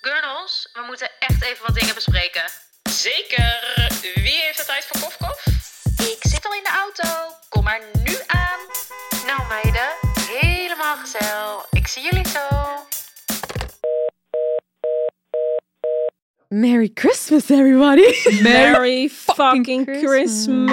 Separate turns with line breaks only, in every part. Jos, we moeten echt even wat dingen bespreken.
Zeker. Wie heeft de tijd voor kofkof?
Ik zit al in de auto. Kom maar nu aan. Nou meiden, helemaal gezellig. Ik zie jullie zo.
Merry Christmas, everybody!
Merry fucking Christmas.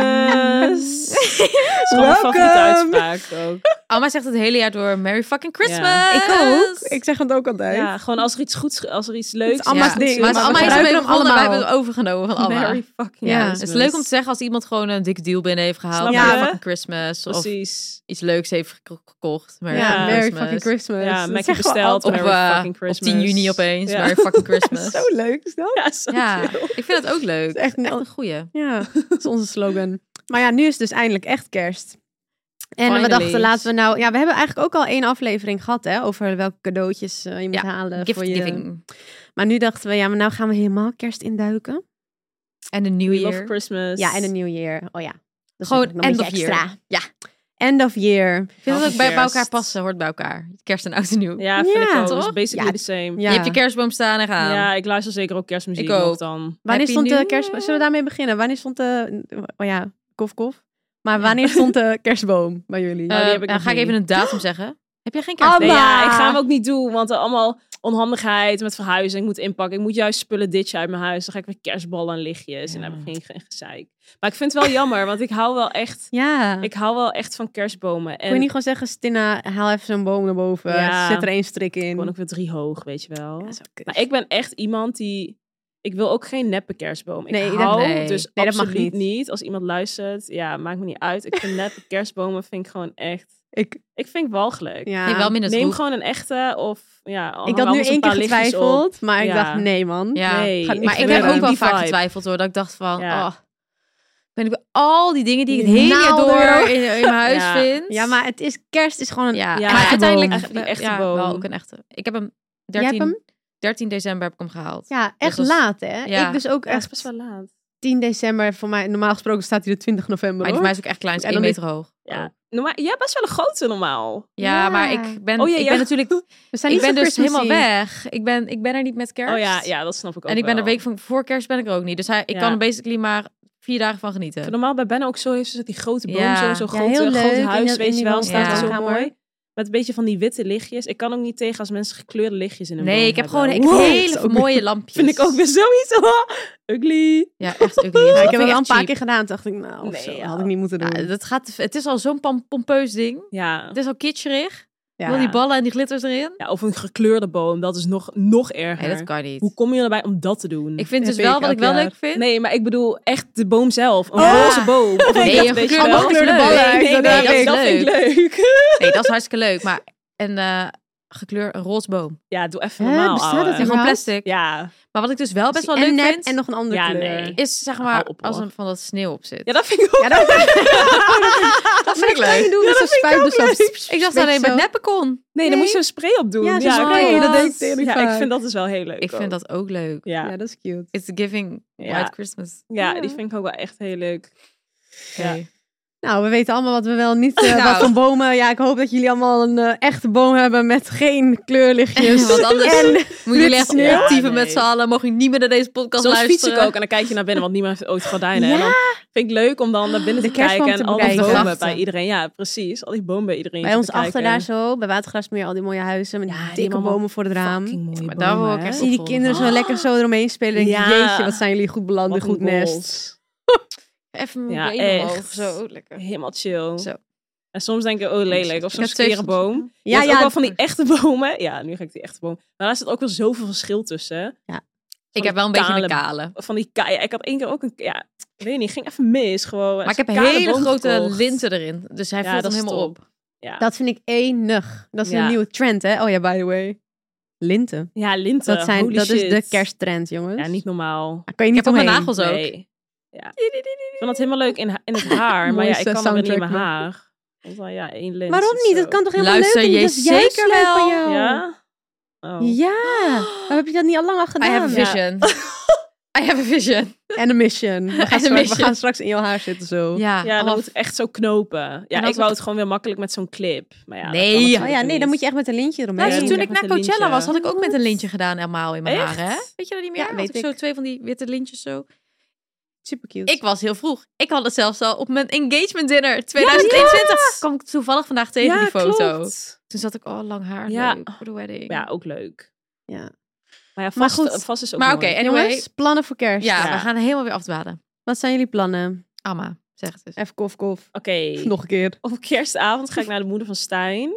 Dat is gewoon mijn favoriete
Welcome.
uitspraak ook.
Alma zegt het hele jaar door Merry fucking Christmas.
Ik ook. Ik zeg het ook altijd.
Ja, gewoon als er iets goeds, als er iets leuks
is Amma's ding.
Maar
Maar we
Alma is
gebruiken hem
ermee begonnen. Wij hebben
allemaal.
het overgenomen van Alma.
Merry fucking
ja,
Christmas.
het is leuk om te zeggen als iemand gewoon een dikke deal binnen heeft gehaald.
Snap
Merry
je?
fucking Christmas. Of
Precies.
iets leuks heeft gek- gekocht. Merry
Ja,
fucking
Merry
Christmas.
fucking Christmas.
Ja,
Dat
Mackie
zeggen we
besteld.
altijd.
Op,
Merry
eh,
fucking
op
Christmas.
10 juni opeens.
Ja.
Merry fucking
Dat is
Christmas.
zo leuk, is dat?
Ja, zo
ja,
chill.
ik vind dat ook leuk.
Dat is echt een-
een goeie.
Ja, dat is onze slogan. Maar ja, nu is het dus eindelijk echt kerst. En we
Finally.
dachten, laten we nou... Ja, we hebben eigenlijk ook al één aflevering gehad, hè? Over welke cadeautjes eh, je moet
Ja,
halen.
Gift
voor je...
giving.
Maar nu dachten we, ja, maar nou gaan we helemaal kerst induiken.
En de
We
New
love
Year.
Christmas.
Ja, en een nieuw jaar. Oh ja. Dat
Dus Gewoon
vind ik nog een
end
beetje
of
extra.
year.
Ja. End of year.
Ik vind dat ook bij, bij elkaar
Kerst.
passen, hoort bij elkaar. Kerst en oud en nieuw.
Ja, vind
Ja,
ik ook.
toch?
It's basically
Ja.
the same.
Ja.
Je hebt je kerstboom staan en gaan.
Ja, ik luister zeker ook kerstmuziek
Ik ook.
nog dan.
Wanneer
Happy
stond de
New
kerst...
Year.
Zullen we daarmee beginnen? Wanneer stond de... Oh ja, kof kof. Maar wanneer stond de kerstboom bij jullie?
Eh,
die heb ik
nou,
nog
ga ik
niet. Ah,
even een datum zeggen. Heb jij geen kerstboom?
Nee,
Amma.
ja, ik ga hem ook niet doen, want er allemaal onhandigheid met verhuizen. Ik moet inpakken. Ik moet juist spullen ditchen uit mijn huis. Dan ga ik weer kerstballen en lichtjes en dan heb ik geen, geen gezeik. Maar ik vind het wel jammer, want ik hou wel echt,
Ja.
ik hou wel echt van kerstbomen. En
Kun je niet gewoon zeggen, Stina, haal even zo'n boom naar boven.
Ja.
Zet er één strik in.
gewoon ook weer drie hoog, weet je wel.
Ja, zo kut.
maar ik ben echt iemand die... Ik wil ook geen neppe kerstboom. Ik
Nee, dat-
hou
nee.
dus
Nee, dat mag
absoluut
niet.
niet. Als iemand luistert, ja, maakt me niet uit. Ik vind neppe kerstbomen vind ik gewoon echt...
Ik,
Ik vind ik walgelijk.
ja.
Nee, wel minder
Neem
troep.
gewoon een echte of... Ja, hang
ik had nu
anders een
één keer
paar lichtjes op.
getwijfeld, maar ik
Ja.
dacht, nee man.
Ja.
Nee,
Gaat niet
Maar ik
gebeuren.
heb ook wel
Die
vaak
vibe.
getwijfeld hoor. Dat ik dacht van,
Ja. Nou,
oh, ben ik bij al die dingen die ik het
Die
hele jaar
naalden.
door in, in mijn huis
Ja.
vind.
Ja, maar het is kerst, is gewoon een...
ja.
Ja,
maar
echte
uiteindelijk
boom. Echt die echte
ja,
boom.
wel ook een echte. Ik heb hem
Jij hebt
13,
hem?
13 december heb ik hem gehaald.
Ja, echt
dat is-
laat hè.
Ja.
Ik dus ook
Ja, het is
echt
best wel laat.
10 december. Voor mij, normaal gesproken staat hij de 20 november.
Maar die
hoor.
voor mij is ook echt klein, is
En
1
dan is-
meter hoog.
Ja. Normaal, jij hebt best wel een grote normaal.
Ja,
Ja.
maar ik ben,
Oh ja,
ik
ja.
ben natuurlijk,
We zijn
ik
niet
ben
zo
dus helemaal
Christmassy.
weg. Ik ben, ik ben er niet met kerst.
Oh ja, ja, dat snap ik ook
En ik ben
wel.
er week van voor kerst ben ik er ook niet. Dus hij, ik
Ja.
kan er basically maar vier dagen van genieten.
Eh, Normaal bij Ben ook zo heeft ze die grote boom,
Ja.
zo, zo'n
Ja,
grote,
heel leuk.
groot
In
huis,
dat- in
weet je
die
wel,
woonkamer.
staat er zo
Ja.
mooi. Met een beetje van die witte lichtjes. Ik kan ook niet tegen als mensen gekleurde lichtjes in hun
Nee,
boom
ik heb gewoon
hebben.
echt
Wow.
hele
Dat is ook-
mooie lampjes.
Vind ik ook weer zoiets. Oh, ugly.
Ja, echt ugly.
Ja,
Dat
Nou, ik
vind
heb het wel een
echt
paar
cheap.
keer gedaan. Toen dacht ik, nou,
Nee,
zo,
ja.
had ik niet moeten doen.
Ja, dat gaat, te v- het is al zo'n pam- pompeus ding.
Ja.
Het is al kitscherig.
Ja.
Wil die ballen en die glitters erin?
ja. Of een gekleurde boom, dat is nog, nog erger.
Nee, dat kan niet.
Hoe kom je erbij om dat te doen?
Ik vind
Heb
dus wel
ik
wat
elk
ik wel
jaar.
leuk vind.
Nee, maar ik bedoel echt de boom zelf. Een
Oh.
roze boom. Of een
Nee,
dat
een
weet je
gekleurde
wel.
boom is leuk.
ballen.
Nee, nee,
Ik
nee,
dacht,
dat,
dat is
vind ik leuk.
Nee, dat is hartstikke leuk. Maar een eh gekleur, een roze boom.
Ja, doe even
Hè,
normaal,
bestaat
ouwe.
dat
En
überhaupt?
gewoon plastic.
Ja.
Maar wat ik dus wel best wel
en
leuk
nep
vind,
en nog een andere
Ja,
kleur.
nee.
is zeg
Hou
maar
op,
als
hoor.
er van dat sneeuw op zit.
ja, dat vind ik ook.
Ja, dat,
dat
maar dat kan je doen met zo'n spuitbus. zo-
Ik
weet
dacht
je
alleen met
zo.
neppen kon.
Nee,
Nee.
dan moet je zo'n spray op doen.
Ja, zo'n
spray,
klopt.
dat deed ik
heel erg
Ja,
vaak.
ik vind dat is wel heel leuk.
Ik
ook.
vind dat ook leuk.
Ja.
Ja,
Ja,
dat is cute.
It's giving
Ja.
white Christmas.
Ja.
die vind ik ook wel echt heel leuk. Ja.
Hey.
Nou, we weten allemaal wat we wel niet... eh,
Nou.
Wat van bomen. Ja, ik hoop dat jullie allemaal een eh, echte boom hebben met geen kleurlichtjes.
Want anders
En
moeten jullie echt
sneeuw.
optieven
Ja, nee.
met z'n allen. Mogen jullie niet meer naar deze podcast
Soms fiets
luisteren.
ik ook en dan kijk je naar binnen, want niemand heeft ooit gordijnen.
Ja.
En dan vind ik leuk om dan naar binnen
De
te kijken
kerstboom te
en al die
bekijken.
bomen
Grachten.
bij iedereen. Ja, precies. Al die bomen bij iedereen.
bij
te
ons
bekijken.
achter daar zo, bij Watergrasmeer, al die mooie huizen met
Ja, die
dikke
hebben allemaal
bomen voor het raam.
Fucking mooie
maar daar
bomen,
word ik
hè.
echt
Zie die
Oh,
kinderen zo
oh.
lekker zo eromheen spelen. En denk ik,
Ja.
jeetje, wat zijn jullie goed beland in
Wat
goed
een
nest.
goals.
Even
Ja,
mijn benen
echt.
omhoog. Zo lekker.
Helemaal chill.
Zo.
En soms denk ik, oh lelijk, of
Ik
zo'n
heb twee
skere boom. Ja,
Ja,
ja, ook wel
ja,
van die echte bomen. Ja, nu ga ik die echte boom. Maar daar zit ook wel zoveel verschil tussen.
Ik heb wel een beetje een
Kale-
kale.
Van die kaaien. Ik had één keer ook een. Ja, ik weet niet, ging even mis gewoon.
Maar ik heb
Zo'n kale
hele
boom
grote
gekocht.
linten erin. Dus hij
Ja,
vult
dat
hem
is
helemaal
top.
op.
Ja,
dat vind ik enig. Dat is een
Ja.
nieuwe trend, hè? Oh ja, by the way. Linten.
ja linten.
Dat, zijn,
eh, holy
dat is de
shit.
kersttrend, jongens.
Ja, niet normaal.
Daar kan je
Ik
niet
heb op mijn
omheen.
nagels ook.
Nee. Ja. Ik vond dat helemaal leuk in, ha- in het haar. maar ja,
Mooiste
ik kan nog niet in mijn
soundtrack nog.
haar. Want dan, ja, één lint.
Waarom
of
niet?
zo.
Dat kan toch helemaal
Luister
leuk? en
je
dat is juist
zeker
leuk van
wel?
jou.
dus, eh, Ja? Oh.
Ja. Waarom heb je dat niet al lang al
I
gedaan?
have a
Ja.
vision. I have a vision.
En een mission. We gaan,
een
straks, We
mission.
gaan straks in jouw haar zitten zo.
Ja,
Ja, dan
allemaal-
moet het echt zo knopen. Ja,
als
ik wou
het-
het gewoon weer makkelijk met zo'n clip. Maar ja, dat
Nee.
kan natuurlijk
Oh ja, nee,
niet.
dan moet je echt met een lintje eromheen.
Luister,
Ja,
toen
moet
ik
echt
naar
met een
Coachella was,
lintje.
had ik ook met een lintje gedaan helemaal in mijn
Echt?
haar, hè? Weet je dat niet meer?
Ja,
Had
weet
ik
ik.
zo twee van die witte lintjes zo.
Super cute.
Ik was heel vroeg. Ik had het zelfs al op mijn engagement dinner 2021. kwam ik toevallig vandaag tegen
Ja,
die foto.
klopt.
Toen zat ik, oh, lang haar,
Ja.
leuk, voor de wedding.
Ja, ook leuk.
Ja.
Maar ja, vast,
Maar goed.
vast is ook
maar oké,
mooi.
anyway.
Jongens, plannen voor kerst.
ja,
Ja.
we gaan helemaal weer afdwalen.
Wat zijn jullie plannen?
Amma, zeg het eens.
Even kof, kof.
Oké.
Nog een keer.
Op kerstavond ga ik naar de moeder van Stijn.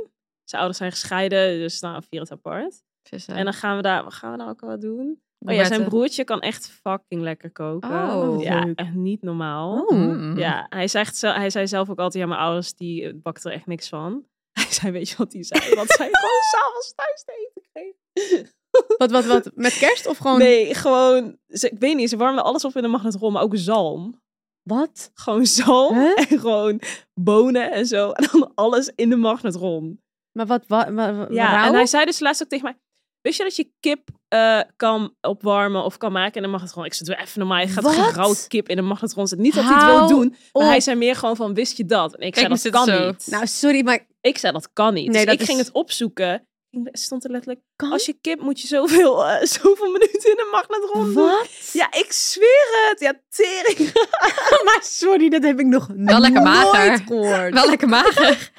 Zijn ouders zijn gescheiden, dus nou, vier het apart.
Vissen.
En dan gaan we daar, wat gaan we nou ook al wat doen? Oh ja,
Gourmetten.
zijn broertje kan echt fucking lekker koken.
Oh.
ja,
Leuk. Oh.
echt niet normaal.
Hmm.
Mm.
Ja, hij, zegt, zel- hij zei zelf ook altijd, ja, mijn ouders, die eh, bakten er echt niks van. Hij zei, weet je wat die zei? Want zij gewoon s'avonds thuis te eten kreeg.
Wat, wat, wat? Met kerst of gewoon...
Nee, gewoon, ze, ik weet niet, ze warmden alles op in de magnetron, maar ook zalm.
Wat?
Gewoon zalm
Huh?
en gewoon bonen en zo. En dan alles in de magnetron.
Maar wat, wat, wat,
Ja,
rauw?
en hij zei dus laatst ook tegen mij, wist je dat je kip eh, kan opwarmen of kan maken in de magnetron? Ik zei, doe even normaal, je gaat
Wat?
geen rauw kip in de magnetron zetten. Niet dat hij het
Hou
wil doen, maar
op.
hij zei meer gewoon van, wist je dat? En ik
Kijk,
zei,
we
dat
zitten
kan
zo.
niet.
Nou, sorry, maar
Ik zei dat kan niet.
Nee,
Dus
dat
ik ging
is-
het opzoeken. Ik stond er letterlijk.
Kan?
Als je kip moet je zoveel, eh, zoveel minuten in een magnetron doen.
Wat?
Oh Ja, ik zweer het. Ja, tering.
maar sorry, dat heb ik nog
Wel lekker mager.
nooit gehoord.
Wel lekker mager.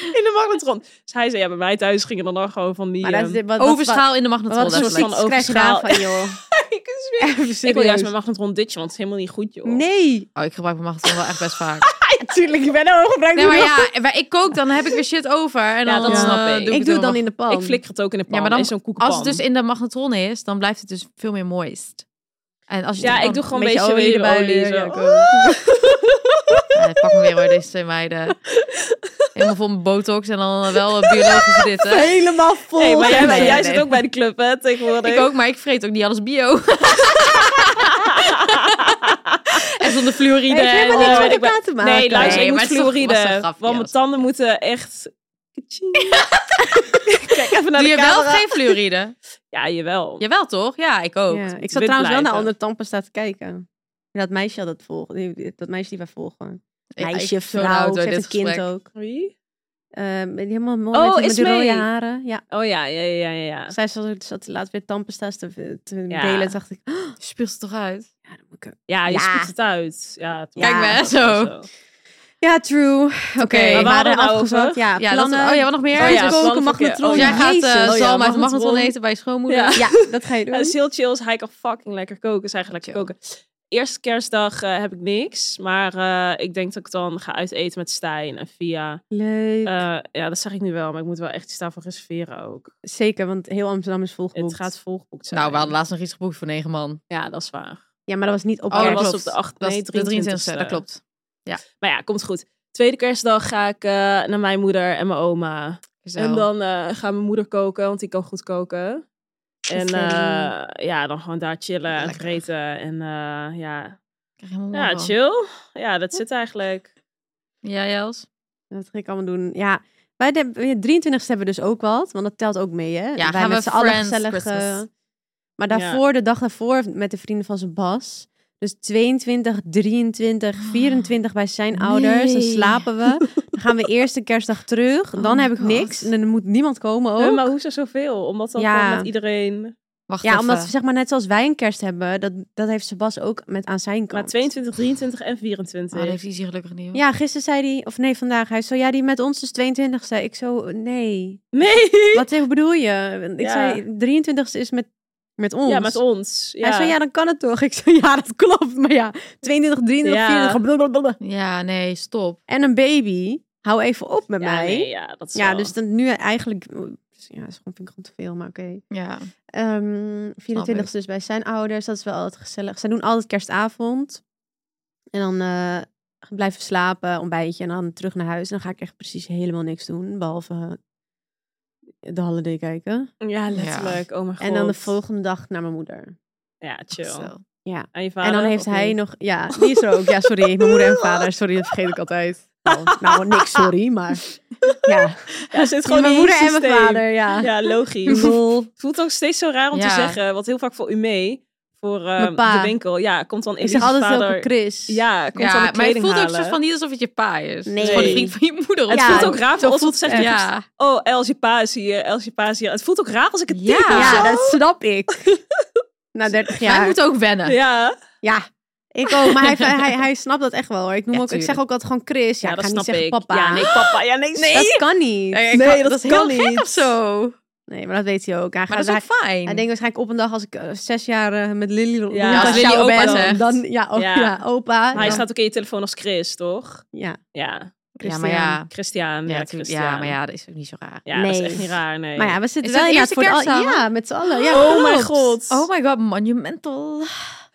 In de magnetron. Dus hij zei, ja, bij mij thuis gingen dan nog gewoon van die...
Maar dat is
ehm,
dit, wat, wat-
Overschaal in de magnetron.
Wat, wat voor
soort
letterlijk.
van
snoets krijg je
overschaal.
daarvan, joh?
ik zweer.
Even
Ik wil juist
serieus.
mijn magnetron ditchen, want het is helemaal niet goed, joh.
Nee.
Oh, ik gebruik mijn magnetron wel echt best vaak.
Natuurlijk, ik ben ook gebruikt.
Nee, maar ja, maar ik kook, dan heb ik weer shit over. En
Ja,
dan,
dat snap
eh,
ik.
doe ik,
ik doe het dan
in
in de pan.
Ik flikker het ook in de pan,
maar dan-
in zo'n koekenpan.
Als het dus in de magnetron is, dan blijft het dus veel meer moist. En als je
ja,
het
ik
gewoon-
doe gewoon een beetje olie, erbij. Olie, zo.
ja, ik ook.
Ja, ik pak me weer hoor, deze twee meiden. Helemaal vol met botox en dan wel eh, biologische dit, hè.
Helemaal vol.
Hey, maar jij,
Nee, nee,
jij
nee.
zit ook bij de club, hè, tegenwoordig.
Ik ook, maar ik vreet ook niet alles bio. en zonder fluoride.
Het heeft
en,
helemaal
Oh,
niks
eh,
met
ik ben-
elkaar te maken.
Nee, luister,
Nee,
ik
maar
moet
het is toch- was toch een
fluoride. Want
grapje,
mijn
was-
tanden moeten echt... Kijk even naar
doe
de
je
camera.
wel geen fluoride?
Ja, jawel.
Jawel toch? Ja, ik ook.
Ja, ik zat
wit
trouwens wel
blijven.
naar andere tandpasta te kijken. En dat meisje had dat volgen. die- die- Dat meisje die wij volgen.
Ik-
Meisje,
ik- zo'n
vrouw,
auto,
ze heeft
dit
een kind
gesprek.
ook.
Wie?
Eh, met- helemaal mooi
Oh,
met, die- met die
Ismee.
rode haren. Ja,
Oh ja, ja, ja, ja. ja.
zij zat, zat laatst weer tandpasta's te, te
Ja.
delen. En dacht ik, oh,
Spuugt het toch uit?
ja, dat moet ik...
Ja, je
Ja.
spuugt het uit. Ja, toch.
Kijk
Ja,
maar,
dat is
zo.
wel
ja, true. Oké,
maar
waar
maar
hadden we nou
afgezakt.
over?
Ja,
Ja, dat,
plannen.
oh ja, wat nog meer?
Oh ja,
Thuis koken,
plannen voor keer.
magnetron.
Of
Oh,
jij gaat eh,
Jezus.
Oh ja,
zalm uit de magnetron
magnetron.
eten bij je schoonmoeder.
Ja.
Ja, dat ga je doen.
Ja, dat is heel chill. Hij kan fucking lekker koken. Zij gaat lekker
Mm. Chill.
koken. Eerste kerstdag eh, heb ik niks. Maar eh, ik denk dat ik dan ga uiteten met Stijn en Via.
Leuk.
Eh, ja, dat zeg ik nu wel. Maar ik moet wel echt iets daarvoor reserveren ook.
Zeker, want heel Amsterdam is volgeboekt.
Het gaat volgeboekt zijn.
Nou, we hadden laatst nog iets geboekt voor negen man.
Ja, dat is waar.
Ja, maar dat was niet op
Oh,
dat
kerst.
was
klopt.
op de acht-
Dat
nee,
is de 23
23e.
dat klopt.
Maar ja, komt goed. Tweede kerstdag ga ik eh, naar mijn moeder en mijn oma. En dan eh gaat mijn moeder koken, want die kan goed koken. En
Gezellig.
eh, ja, dan gewoon daar chillen en
Lekker.
vreten. En eh, ja.
Krijg je helemaal
ja,
moe van.
chill. Ja, dat zit eigenlijk.
Ja, Jels?
Dat ga ik allemaal doen. Ja, wij de 23 hebben we dus ook wat, want dat telt ook mee, hè? wij
gaan we
met z'n allen
Friends
gezellig.
Christmas.
eh, maar daarvoor, de dag daarvoor, met de vrienden van zijn Bas. Dus 22, 23, 24 bij zijn ouders. Dan
Ah. nee.
slapen we. Dan gaan we eerst de kerstdag terug.
Oh
Dan
my
heb ik
God.
niks. En dan moet niemand komen ook.
Huh, maar hoezo zoveel? Omdat dan
Ja.
gewoon met iedereen...
Wacht
ja,
even.
omdat we zeg maar net zoals wij een kerst hebben, dat, dat heeft zijn Bas ook met aan zijn kant.
Maar 22, 23 en 24.
Oh, dat heeft Izzy gelukkig niet. hoor.
Ja, gisteren zei hij, of nee, vandaag. Hij zei, ja, die met ons is 22 e Ik zo, nee.
Nee!
Wat tegen bedoel je? Ik
Ja.
zei, 23 is met, met ons.
Ja, met ons. Ja.
Hij zei, ja, dan kan het toch? Ik zei, ja, dat klopt. Maar ja, 22, 23,
Ja.
24, blablabla.
Ja, nee, stop.
En een baby. Hou even op met
Ja,
mij.
nee, ja, dat is
ja,
wel-
dus dan nu eigenlijk... Ja, dat is gewoon- vind ik gewoon te veel, maar oké.
Ja.
Ehm 24 dus bij zijn ouders. Dat is wel altijd gezellig. Ze doen altijd kerstavond. En dan eh, blijven we slapen, ontbijtje en dan terug naar huis. En dan ga ik echt precies helemaal niks doen, behalve eh, de holiday kijken.
Ja, letterlijk. Oh mijn god.
En dan de volgende dag naar mijn moeder.
Ja, chill.
Zo.
En, je vader,
en dan heeft
of
hij
niet?
nog... Ja, die is er ook. Ja, sorry. Mijn moeder en vader. Sorry, dat vergeet ik altijd. Nou, nou, niks sorry, maar... Ja,
Ja, er zit
gewoon
gewoon
mijn
in
moeder
je
en mijn
systeem.
vader, ja.
Ja, logisch.
Lol.
Het voelt ook steeds zo raar om te
Ja.
zeggen, want heel vaak voor u mee. voor eh,
Mijn pa.
de winkel. Ja, komt dan
Ik
Elise's
zeg altijd
vader...
zulke Chris.
Ja, komt dan
Ja,
de
maar het
kleding
voelt ook
halen.
soort van niet alsof het je pa is. Het
Nee.
is gewoon een vriend van je moeder.
Het
of
Ja,
zo.
voelt ook raar
zo
als
voelt
het zegt
het
tegen-
Ja.
Oh, Elsie pa is hier, Elsie pa is hier. Het voelt ook raar als ik het
Ja.
typ of zo.
Ja, dat snap ik. Na 30
Maar hij
jaar.
moet ook wennen.
Ja,
Ja, ik ook. Maar hij, hij, hij snapt dat echt wel hoor. Ik, noem
Ja,
ook, ik zeg
tuurlijk.
ook altijd gewoon Chris. Ja,
Ja,
ik ga niet
dat snap
zeggen
ik.
papa.
Ja, nee, papa. Ja, nee, nee.
Dat kan niet.
Nee,
Nee,
ik
Nee,
kan-
dat
dat is
kan
heel
niet.
gek of zo.
maar dat weet hij ook. Hij,
Maar
gaat,
dat is
hij,
ook fijn.
hij denkt waarschijnlijk op een dag als ik eh, zes jaar eh, met Lily rond
Ja, als
Lily opa
ben,
zegt.
Dan, ja, o- ja.
Ja.
opa.
Maar hij
ja.
staat ook in je telefoon als Chris, toch?
Ja,
Ja,
ja, maar
Christian.
ja.
Christian. Ja,
Ja, tuurlijk.
Christian.
ja, maar ja, dat is ook niet zo raar.
Ja, dat is
Nee.
echt niet raar, nee.
Maar ja, we zitten
Is
wel
dat de
inderdaad
eerste
voor de al-
kerstsamen?
Ja, met z'n allen. Ja,
oh mijn
klopt.
god.
Oh my god, Oh, monumental.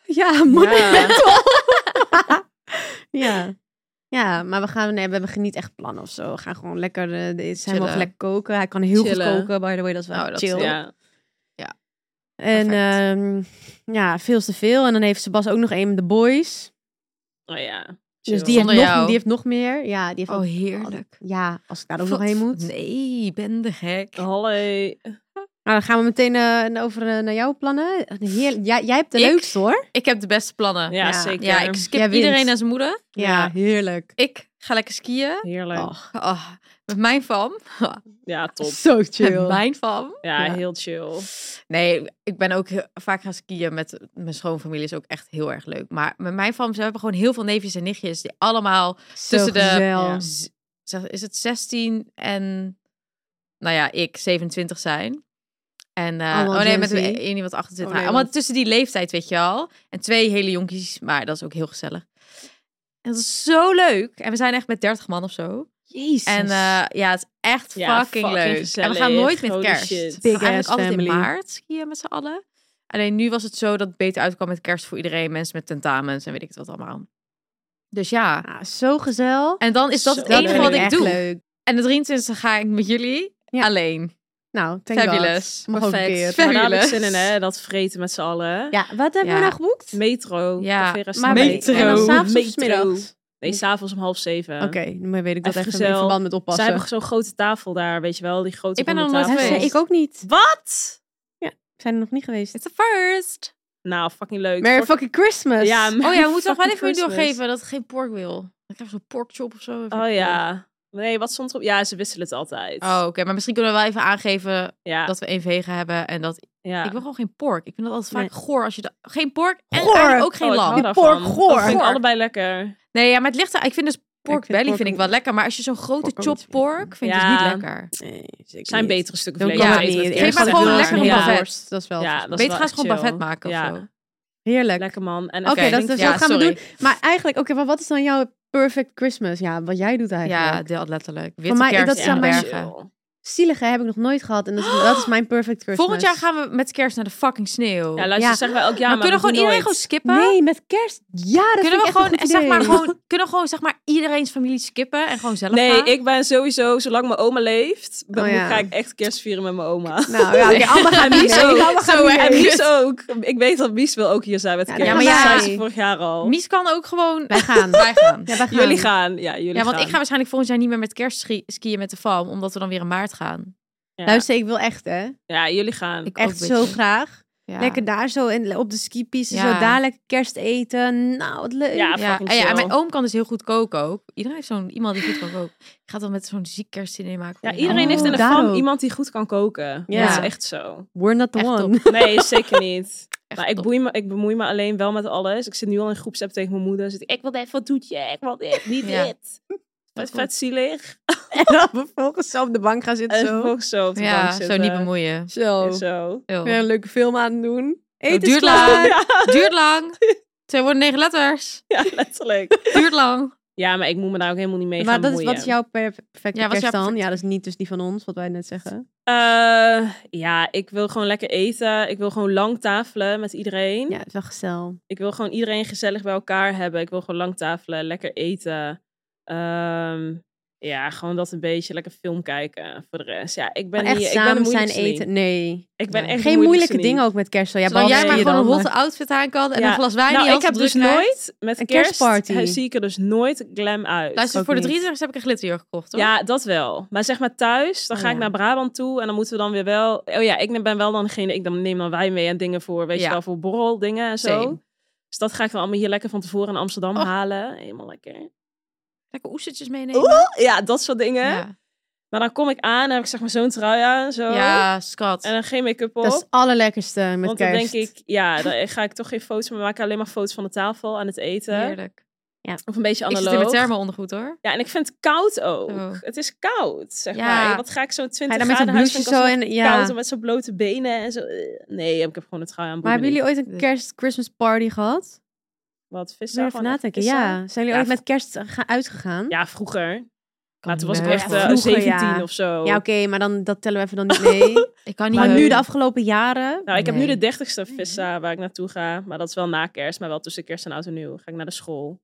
Ja, moeder.
Ja.
Ja. Ja, maar we, gaan, nee, we hebben niet echt plannen of zo. We gaan gewoon lekker, eh, de- zijn
Chillen.
wel lekker koken. Hij kan heel
Chillen.
goed koken, by the way. Dat is wel
Oh, dat-
chill.
Ja.
En
Perfect.
ehm, ja, veel te veel. En dan heeft Sebas ook nog een met de boys.
Oh ja.
Dus
Chill.
die heeft,
Zonder
nog,
jou.
die heeft nog meer. Ja, die heeft
Oh,
ook,
heerlijk.
ja, als ik daar ook nog heen moet.
Nee, ik ben de gek.
Oh. Hallo.
Nou, dan gaan we meteen eh, over eh, naar jouw plannen. Heerlijk. Jij, jij hebt de
Ik?
leukste hoor.
Ik heb de beste plannen.
Ja, eh,
Ja.
zeker.
Ja, ik skip
Jij wint.
iedereen naar zijn moeder.
Ja, heerlijk.
Ik ga lekker skiën.
Heerlijk.
Och,
Oh, met mijn fam.
Ja, top.
zo
Met
chill.
mijn fam.
Ja,
Ja.
heel chill.
Nee, ik ben ook heel- vaak gaan skiën met mijn schoonfamilie. is ook echt heel erg leuk. Maar met mijn fam, ze hebben gewoon heel veel neefjes en nichtjes. Die allemaal, Tussen de-
gezellig.
z- zeg- is het 16 en, nou ja, ik 27 zijn. En, eh,
Allemaal
oh nee,
Gen
met
Z.
één iemand 28.
Oh
maar
nee,
allemaal
dat-
tussen die leeftijd, weet je al. En twee hele jonkies, maar dat is ook heel gezellig. En dat is zo leuk. En we zijn echt met 30 man of zo.
Jezus.
En eh, ja, het is echt
Ja,
fucking,
fucking
leuk. En we gaan
gezellig.
nooit met
Holy
kerst.
shit.
We
Big
gaan eigenlijk
ass
altijd in
family.
maart skiën met z'n allen. Alleen nu was het zo dat het beter uitkwam met kerst voor iedereen. Mensen met tentamens en weet ik het wat allemaal. Dus ja.
Ah, zo gezellig.
En dan is dat
Zo
het enige
leuk.
wat ik
Echt
doe.
leuk.
En de 23 ga ik met jullie
Ja.
alleen.
Nou, thank
Fabulous.
God. Mag ook een keer.
Fab-
Maar daar heb ik
Fabulous.
zin in, hè? Dat vreten met z'n allen.
Ja, wat hebben we
Ja.
nou geboekt?
Metro.
Ja,
café
Maar
restaurant.
Metro.
En dan s'avonds of
Metro.
's middags?
Nee, s'avonds om half zeven.
Oké, maar weet ik dat
Even
echt in
gezellig.
verband met
Zij
oppassen.
hebben zo'n grote tafel daar, weet je wel? Die grote
Ik ben er
ronde
nog nooit
Ja,
tafels.
ze-
geweest.
ik ook niet.
Wat?
We zijn er nog niet geweest.
It's the first.
Nou, fucking leuk.
Merry
Fuck-
fucking Christmas.
Ja,
Oh ja, we moeten nog wel
Fucking
even
Christmas.
doorgeven dat ik geen pork wil. Ik heb zo'n porkchop of zo.
Oh ja. Nee, wat stond erop? Ja, ze wisselen het altijd.
Oh, oké. Maar misschien kunnen we wel even aangeven
ja.
dat we één vegan hebben. En dat
ja.
Ik wil gewoon geen pork. Ik vind dat altijd vaak
Nee.
goor als je dat... Geen pork en
Goor!
eigenlijk ook geen
Oh, ik hou
lam.
daarvan.
pork goor.
Dat vind ik
Goor.
allebei lekker.
Nee, ja, maar het ligt er... Ik vind dus pork
vind
belly
pork
vind ik
ook-
wel lekker. Maar als je zo'n grote
pork ook
chop
niet zo lekker.
pork vind ik
Ja.
dus niet lekker.
Nee, zeker
zijn
niet.
betere stukken
Dan
vlees.
kan
Ja,
het niet.
Geef maar
Eerst
gewoon
even
lekker
een
een
ja.
buffet.
worst. Dat is wel
Ja,
volgens
dat is
Beter
wel
ga eens
echt
gewoon
chill.
bavet maken
Ja.
of zo.
mij. Heerlijk.
Lekker man. En
Oké,
Oké,
dat,
denk-
dat
ja,
gaan we
sorry.
doen. Maar eigenlijk, oké, maar wat is dan jouw perfect Christmas? Ja, wat jij doet eigenlijk.
Ja, deel letterlijk. Witte
mij-
kerst
dat
in
zijn
de
mijn-
bergen.
Zielige heb ik nog nooit gehad. En dat is, dat is mijn perfect Christmas.
Volgend jaar gaan we met kerst naar de fucking sneeuw.
Ja,
maar
luister,
Ja.
zeggen wij elk jaar.
kunnen we
maar
gewoon
we doen
iedereen
nooit.
gewoon skippen?
Nee, met kerst. Ja, dat
kunnen
vind
we
ik echt
gewoon,
een goed
zeg maar,
idee.
gewoon, kunnen we gewoon zeg maar iedereen's familie skippen en gewoon zelf
Nee,
gaan?
ik ben sowieso, zolang mijn oma leeft, ben-
Oh ja.
ga ik echt kerst vieren met mijn oma.
Nou ja, oké, allemaal gaan
Mies
mee.
ook.
Allemaal gaan
Zo
mee.
En
erg.
Mies ook. Ik weet dat Mies wil ook hier zijn met
Ja,
kerst.
dan gaan
Dat
wij.
zei ze vorig jaar al.
Mies kan ook gewoon.
Wij gaan.
Wij gaan.
Ja, wij gaan.
Jullie gaan. Ja, jullie
Ja, want
gaan.
ik ga waarschijnlijk volgend jaar niet meer met kerst schi- skiën met de fam, omdat we dan weer in maart gaan.
Ja.
Luister, ik wil echt, hè.
Ja, jullie gaan.
Ik
Echt
ook een
zo
beetje.
graag.
Ja.
Lekker daar zo in, op de skipiste,
Ja.
zo dadelijk kerst eten. Nou, wat leuk.
Ja,
Ja,
fucking
en, ja, en
chill.
mijn oom kan dus heel goed koken ook. Iedereen heeft zo'n iemand die goed kan koken. Ik ga dan met zo'n ziek Oh, kerstdiner maken. voor
Ja,
mijn
iedereen
oom.
heeft in de
daar
fam
ook.
iemand die goed kan koken.
Ja.
Dat is echt zo.
We're not the
Echt
one.
Nee, zeker niet.
Echt
Maar ik,
top.
boei me, ik bemoei me alleen wel met alles. Ik zit nu al in groepsapp tegen mijn moeder. Zit ik, ik wil dit, wat doet je? Ik wil dit, niet
Ja.
dit. Vet,
Dat
vet zielig.
En dan vervolgens zo op de bank gaan zitten.
En
Zo.
vervolgens zo op de bank
Ja, zo
zitten.
niet bemoeien.
zo.
En Zo.
Ew.
Weer een leuke film aan het doen. Eten
duurt
is klaar.
lang.
Ja,
Duurt lang. Twee worden negen letters.
ja, letterlijk.
Duurt lang.
Ja, maar ik moet me daar ook helemaal niet mee
Maar
gaan
dat is,
bemoeien.
wat is jouw per- perfecte
Ja, wat is
kerst dan?
jouw perfecte-
Ja, dat is niet dus die van ons, wat wij net zeggen.
Eh, ja, ik wil gewoon lekker eten. Ik wil gewoon lang tafelen met iedereen.
Ja, het is wel gezellig.
Ik wil gewoon iedereen gezellig bij elkaar hebben. Ik wil gewoon lang tafelen, lekker eten. Ehm, Ja, gewoon dat een beetje lekker film kijken voor de rest. Ja, ik ben
Maar echt
hier, ik ben
samen
de
zijn
moeilijkste
eten.
niet.
Nee.
Ik ben
Nee.
echt de
Geen moeilijke
niet.
dingen ook met kerst. Zo. Ja,
Zodat jij
behalve
maar
je
gewoon een
dan,
hotte
eh,
outfit aan kan en
Ja.
een glas wijn
Nou,
die
ik heb dus nooit met
Een
kerst
kerstparty.
kerstparty. zie ik er dus nooit glam uit.
Luister,
Ook
voor de
niet.
33 heb ik een glitterjurk gekocht, hoor.
Ja, dat wel. Maar zeg maar thuis, dan
Oh,
ga ik
ja.
naar Brabant toe en dan moeten we dan weer wel. Oh ja, ik ben wel dan degene, ik dan neem dan wijn mee en dingen voor, weet
Ja.
je wel, voor borrel dingen en zo.
Same.
Dus dat ga ik dan allemaal hier lekker van tevoren in Amsterdam
Oh.
Och.
halen. Helemaal lekker.
Lekker oestertjes meenemen.
Ja, dat soort dingen.
ja.
Maar dan kom ik aan, dan heb ik zeg maar zo'n trui aan, zo.
ja, schat.
En dan geen make-up op.
Dat is het allerlekkerste met
want dan
kerst.
denk ik, ja, dan ga ik toch geen foto's meer maken. Alleen maar foto's van de tafel aan het eten.
Heerlijk.
Of een beetje
Ik
analoog.
zit in mijn thermo ondergoed, hoor.
Ja, en ik vind het koud ook.
Zo.
Het is koud, zeg
Ja.
maar. Wat ga ik zo
Oh. Ga
20
je dan met
graden
een
huis
blouseje
vind ik
zo
alsnog
en
koud en
ja.
met zo'n blote benen en zo. Eh, Nee, ik heb gewoon het trui aan.
Maar
boeien
hebben jullie
niet.
ooit een
Dus-
kerst Christmas party gehad?
Wat
Zou
vissen?
je even
Gewoon echt
nadenken?
vissen?
Ja. Zijn jullie
Ja,
ooit met kerst eh, ga- uitgegaan?
Ja, vroeger. Maar toen
niet
was ik
meer.
echt
Ja,
eh,
vroeger,
17
ja.
of zo.
Ja, oké, maar dan, dat tellen we even dan niet mee.
Ik kan niet
maar nu
heugen.
de afgelopen jaren.
Nou, ik heb nu de
Nee.
30ste vissa waar ik naartoe ga. Maar dat is wel na kerst, maar wel tussen kerst en oud en nieuw. Ga ik naar de school.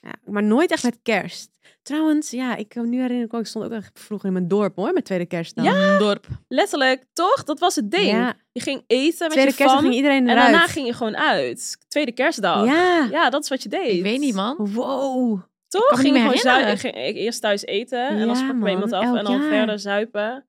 Ja, maar nooit echt met kerst. Trouwens, ja, ik kan me nu herinner ik ook, ik stond ook echt vroeger in mijn dorp hoor, met tweede kerst dan.
Ja. Dorp.
Letterlijk, toch? Dat was het ding.
Ja.
Je ging eten met
Tweede
je
kerst dan
fam.
ging iedereen
en
eruit.
daarna ging je gewoon uit. Tweede kerstdag.
Ja.
Ja, dat is wat je deed.
Ik weet niet, man.
Wow.
Toch?
kan me
ging
niet
ik gewoon
meer
zuipen.
herinneren.
Ging ik eerst thuis eten en
Ja,
dan sprak ik
man,
bij iemand af
elk
en dan
jaar.
verder zuipen.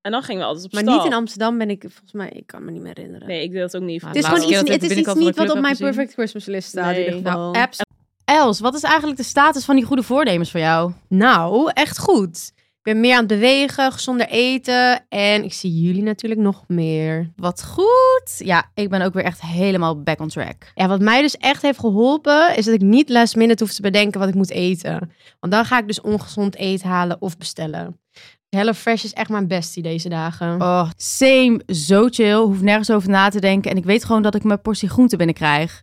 En dan gingen we altijd op
Maar
stap.
niet in Amsterdam ben ik, volgens mij, ik kan me niet meer herinneren.
Nee, ik deed dat ook niet.
Het
Het is gewoon
Laatste keer
iets,
dat ik
het
de
is iets
binnenkant van
niet
de
wat op
club
mijn
heb gezien.
perfect Christmas list staat
Nee.
in ieder geval.
Nou, apps. Els, wat is eigenlijk de status van die goede voornemens voor jou?
Nou, echt goed. Ik ben meer aan het bewegen, gezonder eten. En ik zie jullie natuurlijk nog meer.
Wat goed. Ja, ik ben ook weer echt helemaal back on track.
Ja, wat mij dus echt heeft geholpen, is dat ik niet last minute hoef te bedenken wat ik moet eten. Want dan ga ik dus ongezond eten halen of bestellen. HelloFresh is echt mijn bestie deze dagen.
Oh, same. Zo chill. Hoef nergens over na te denken. En ik weet gewoon dat ik mijn portie groente binnenkrijg.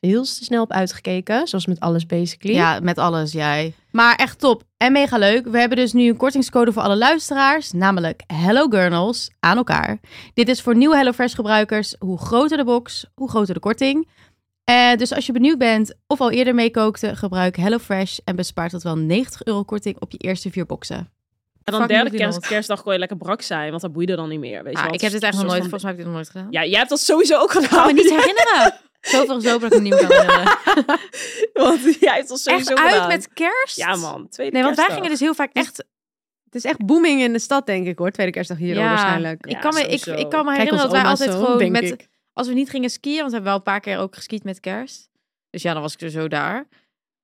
heel snel op uitgekeken. Zoals met alles basically.
Ja, met alles, jij. Maar echt top en mega leuk. We hebben dus nu een kortingscode voor alle luisteraars, namelijk Hello Gurnals aan elkaar. Dit is voor nieuwe HelloFresh gebruikers. Hoe groter de box, hoe groter de korting. Eh, dus als je benieuwd bent of al eerder meekookte, gebruik HelloFresh en bespaart tot wel 90 euro korting op je eerste vier boxen.
En dan
Fuck
derde
McDonald's.
kerst, kerstdag kon je lekker brak zijn, want dat boeide dan niet meer. Weet je
Ah,
wel.
ik heb
Het
dit
is
echt nog
een
nooit,
soort
volgens mij heb ik dit nog nooit gedaan.
van- Ja, Oh, jij hebt dat sowieso ook gedaan.
me niet herinneren. Zoveel is dat ik hem niet meer kan herinneren.
Want jij hebt dat sowieso
Echt uit
gedaan.
met kerst?
Ja man, tweede
Nee, want wij
kerstdag.
gingen dus heel vaak echt...
Het is echt booming in de stad, denk ik hoor. Tweede kerstdag hier al
Ja.
waarschijnlijk.
Ik
Ja,
kan, me, ik,
sowieso.
ik kan me
Kijk,
herinneren
onze
dat wij
oma's
altijd
zo,
gewoon
denk
met...
ik.
Als we niet gingen skiën, want we hebben wel een paar keer ook geskiet met kerst. Dus ja, dan was ik er zo daar.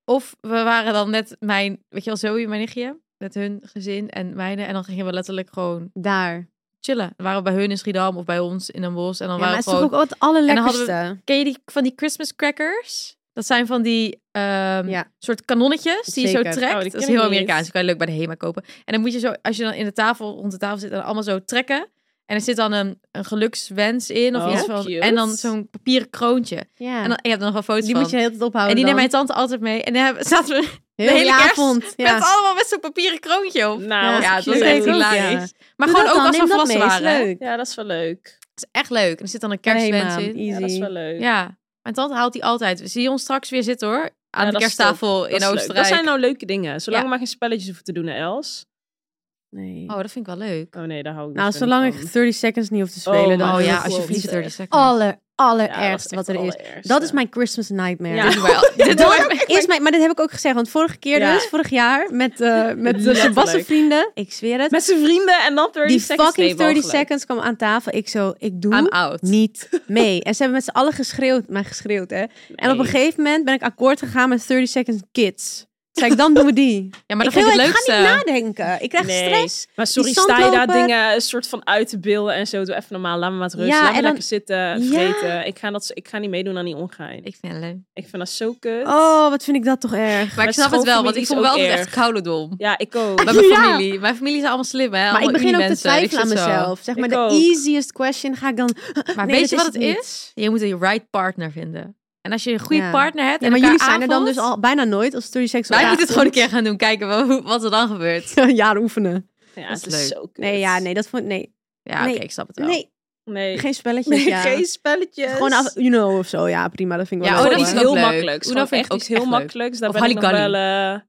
Of we waren dan net mijn... Weet je wel, Zoe, mijn nichtje. Met hun gezin en mijne. En dan gingen we letterlijk gewoon
Daar.
chillen. Dan waren we bij hun in Schiedam of bij ons in een bos. En dan
Ja, maar
waren
het
we
is toch
gewoon...
ook het allerlekkerste.
En dan Ken je die van die Christmas crackers? Dat zijn van die ehm,
Ja.
soort kanonnetjes die je
Zeker.
zo
Oh,
die
trekt. dat
ken
is
ik
heel
niet.
Amerikaans. Die kan je leuk bij de HEMA kopen. En dan moet je zo, als je dan in de tafel, rond de tafel zit, en allemaal zo trekken. En er zit dan een, een gelukswens in of
Oh,
iets van.
cute.
En dan zo'n papieren kroontje.
Ja.
En dan, ik heb er nog een foto
die
van.
moet je de hele tijd ophouden
en die
dan.
neemt mijn tante altijd mee. En dan hebben- zaten we
Heel
hele
die
kerst
avond. Ja.
met allemaal met zo'n papieren kroontje
Nou,
op.
dus Ja,
wat
ja, het was
cute.
echt
Leuk.
hilarisch. Maar
Doe dat
gewoon ook
dan,
als we
neem dat
volwassen
mee, is
waren. hè.
leuk.
Ja, dat is wel leuk.
Het is echt leuk. En er zit dan een
Hey,
kerstwens
man,
in.
Ja, dat is wel leuk.
Ja, mijn tante haalt die altijd. We zien ons straks weer zitten hoor.
Ja,
Aan de
dat is
kersttafel in
Dat is leuk.
Oostenrijk.
Dat zijn nou leuke dingen. Zolang
Ja.
we maar geen spelletjes hoeven te doen, hè, Els.
Nee.
Oh, dat vind ik wel leuk.
Oh nee, daar hou ik
nou,
dus weer
zolang
niet
ik
van.
30 seconds niet hoef te
Oh,
spelen, dan
maar
Oh
dat
ja,
is
als je
wel
vliegt
goed,
30
hè.
seconds.
aller,
Ja, dat
allerergste
echt
wat er is.
allereerst,
Dat is
ja.
mijn Christmas nightmare.
Ja.
Dit doen wij al- Dit doen wij al-
Is mijn, maar dit heb ik ook gezegd, want vorige keer
Ja.
dus, vorig jaar, met, eh met de
Letterlijk.
Sebastian vrienden, ik zweer het,
Met zijn vrienden en dan 30
die
seconds.
fucking
Nee,
30
mogelijk.
seconds kwam aan tafel. Ik zo, ik doe
I'm out.
niet mee. En ze hebben met z'n allen geschreeuwd, maar geschreeuwd hè. En op een
Nee.
gegeven moment ben ik akkoord gegaan met 30 seconds kids. Zei ik, dan doen we die.
Ja, maar dat
ik,
vind ik
wil-
het
ik
leukste.
ga niet nadenken. Ik krijg
Nee.
stress.
Maar sorry,
Die
sta je daar
zandloper.
dingen een soort van uit te beelden en zo. Doe even normaal. Laat me maar rust.
Ja,
Laat me
en dan-
lekker zitten,
Ja.
vreten. Ik, ga dat, ik ga niet meedoen aan die ongein. Ik,
Ik vind het leuk.
vind dat zo kut.
Oh, wat vind ik dat toch erg.
Maar ik
Maar
snap het wel, want
schoolfamilie
ik
is
voel wel
ook
altijd
erg.
echt koude dom.
Ja, ik ook.
Bij mijn
Ja.
familie. Mijn familie is allemaal slim, hè?
Maar
Allemaal
ik begin ook te
uni-mensen. Ik
twijfelen aan
zit zo.
mezelf. Zeg
Ik
maar, de
ook.
easiest question ga ik dan...
Maar
Nee,
weet je
dat
wat het
is het
is? Je moet een right partner vinden. En als je een goede
Ja.
partner hebt
Ja,
en
maar
elkaar
jullie zijn er dan
aanvoelt,
dus al bijna nooit als
Wij
sexueel.
moeten het gewoon een keer gaan doen. Kijken wel hoe- wat er dan gebeurt.
een jaar oefenen.
ja,
dat is
het is
leuk.
zo kut.
Nee, ja, nee, dat vond nee.
Ja,
Nee.
oké, ik snap het wel.
Nee,
Nee,
geen spelletjes. ja.
spelletjes.
Gewoon af, you know, of zo. Ja, prima, dat vind ik
Ja,
wel
oh,
leuk,
dat
hoor.
is
iets
ook
Oh, heel
leuk.
makkelijks.
Uno
Gewoon
vind
echt
ik ook
iets heel
echt leuk.
makkelijks. Daar
Of
ben ik nog wel...
Halligalli.
eh,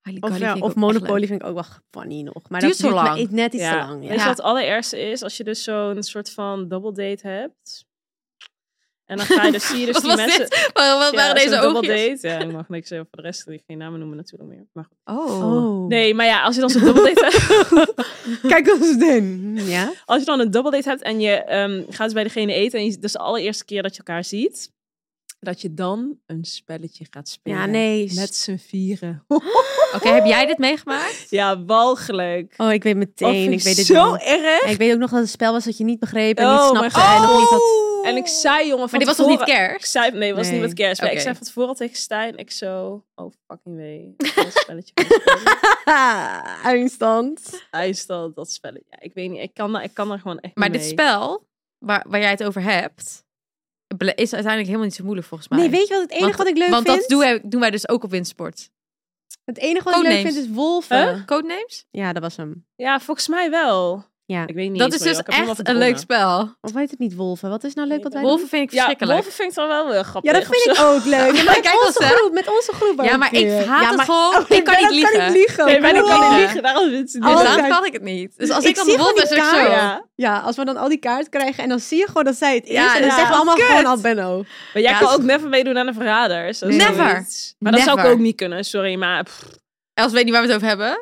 Halligalli
Of,
vind
ja,
ik
of
ook echt
Monopoly
leuk.
vind ik ook wel funny nog. Maar
Duurt
dat
zo
duurt
lang.
net- net iets te
Ja.
lang. Ja.
Weet je wat het allereerste is? Als je dus zo'n soort van double date hebt. En dan ga je dus, zie je dus
Wat
die
was
mensen...
dit? Wat Oh, wat
Ja,
waren
zo'n
deze
double
oogjes?
date. Ja, ik mag niks zeggen voor de rest. die geen namen noemen natuurlijk meer. Maar goed.
Oh.
Oh.
Nee, maar ja, als je dan zo'n double date hebt...
Kijk, dat is het ding. Ja.
als je dan een double date hebt en je ehm, gaat dus bij degene eten... en je, dat is de allereerste keer dat je elkaar ziet... dat je dan een spelletje gaat spelen.
Ja, nee.
Met z'n vieren.
Oké, heb jij dit meegemaakt?
Ja, walgelijk.
Oh, ik weet
Dat
meteen.
vind
Ik weet het
zo
niet.
erg.
En ik weet ook nog dat het spel was dat je niet begreep en niet
Oh,
snapte.
mijn god.
En nog niet had...
En ik zei, jongen, van
Maar dit was toch
tevoren-
niet kerst?
Ik zei, nee, het was
Nee.
niet met kerst. Maar
Oké.
ik zei van tevoren al tegen Stijn, ik zo, oh fucking wee. Dat spelletje. gaan spelen.
Haha, Ah, Eindstand.
Hij is dan dat spelletje. Ja, ik weet niet, ik kan, daar- ik kan er gewoon echt
Maar
niet
dit
mee.
spel, waar, waar jij het over hebt, ble- is uiteindelijk helemaal niet zo moeilijk volgens mij.
Nee, weet je wat het enige
Want-
wat ik leuk
Want
vind?
dat doen wij, doen wij dus ook op windsport.
Het enige wat ik leuk
Codenames.
vind is wolven.
Codenames?
Ja, dat was hem.
Ja, volgens mij wel.
Ja.
Ik weet niet
Dat
eens
is
meer,
dus
joh. Ik heb helemaal
echt een
verdrongen.
leuk spel.
Of heet het niet wolven? Wat is nou leuk wat wij
Wolven vind ik
Ja,
verschrikkelijk.
Wolven vind ik dan wel heel
doen?
grappig.
Ja, dat vind ik ook leuk.
maar
met
kijk,
onze
dat is-
groep, met onze groep.
Ja,
ook
maar
weer.
ik haat
Ja,
het
maar-
gewoon.
Oh,
ik kan niet
dat
liegen.
Kan ik liegen.
Nee, maar ik kan
Wow.
niet liegen. Daarom zit ze
Dus
Oh,
niet.
daarom
kijk.
kan ik het niet. Dus als ik,
Ik
dan
zie
de
gewoon
wolf ben,
die
zeg ik zo.
kaart.
Ja.
Ja.
Ja, als we dan al die kaart krijgen en dan zie je gewoon dat zij het is.
Ja,
en dan
ja.
zeggen we allemaal
Kut.
gewoon al Benno.
Maar jij
Ja,
kan
dat
ook never meedoen aan een verrader. dus zo
Nee.
zoiets.
Never.
Maar dat zou ik
Never.
ook niet kunnen, sorry. Maar pff,
Els weet niet waar we het over hebben.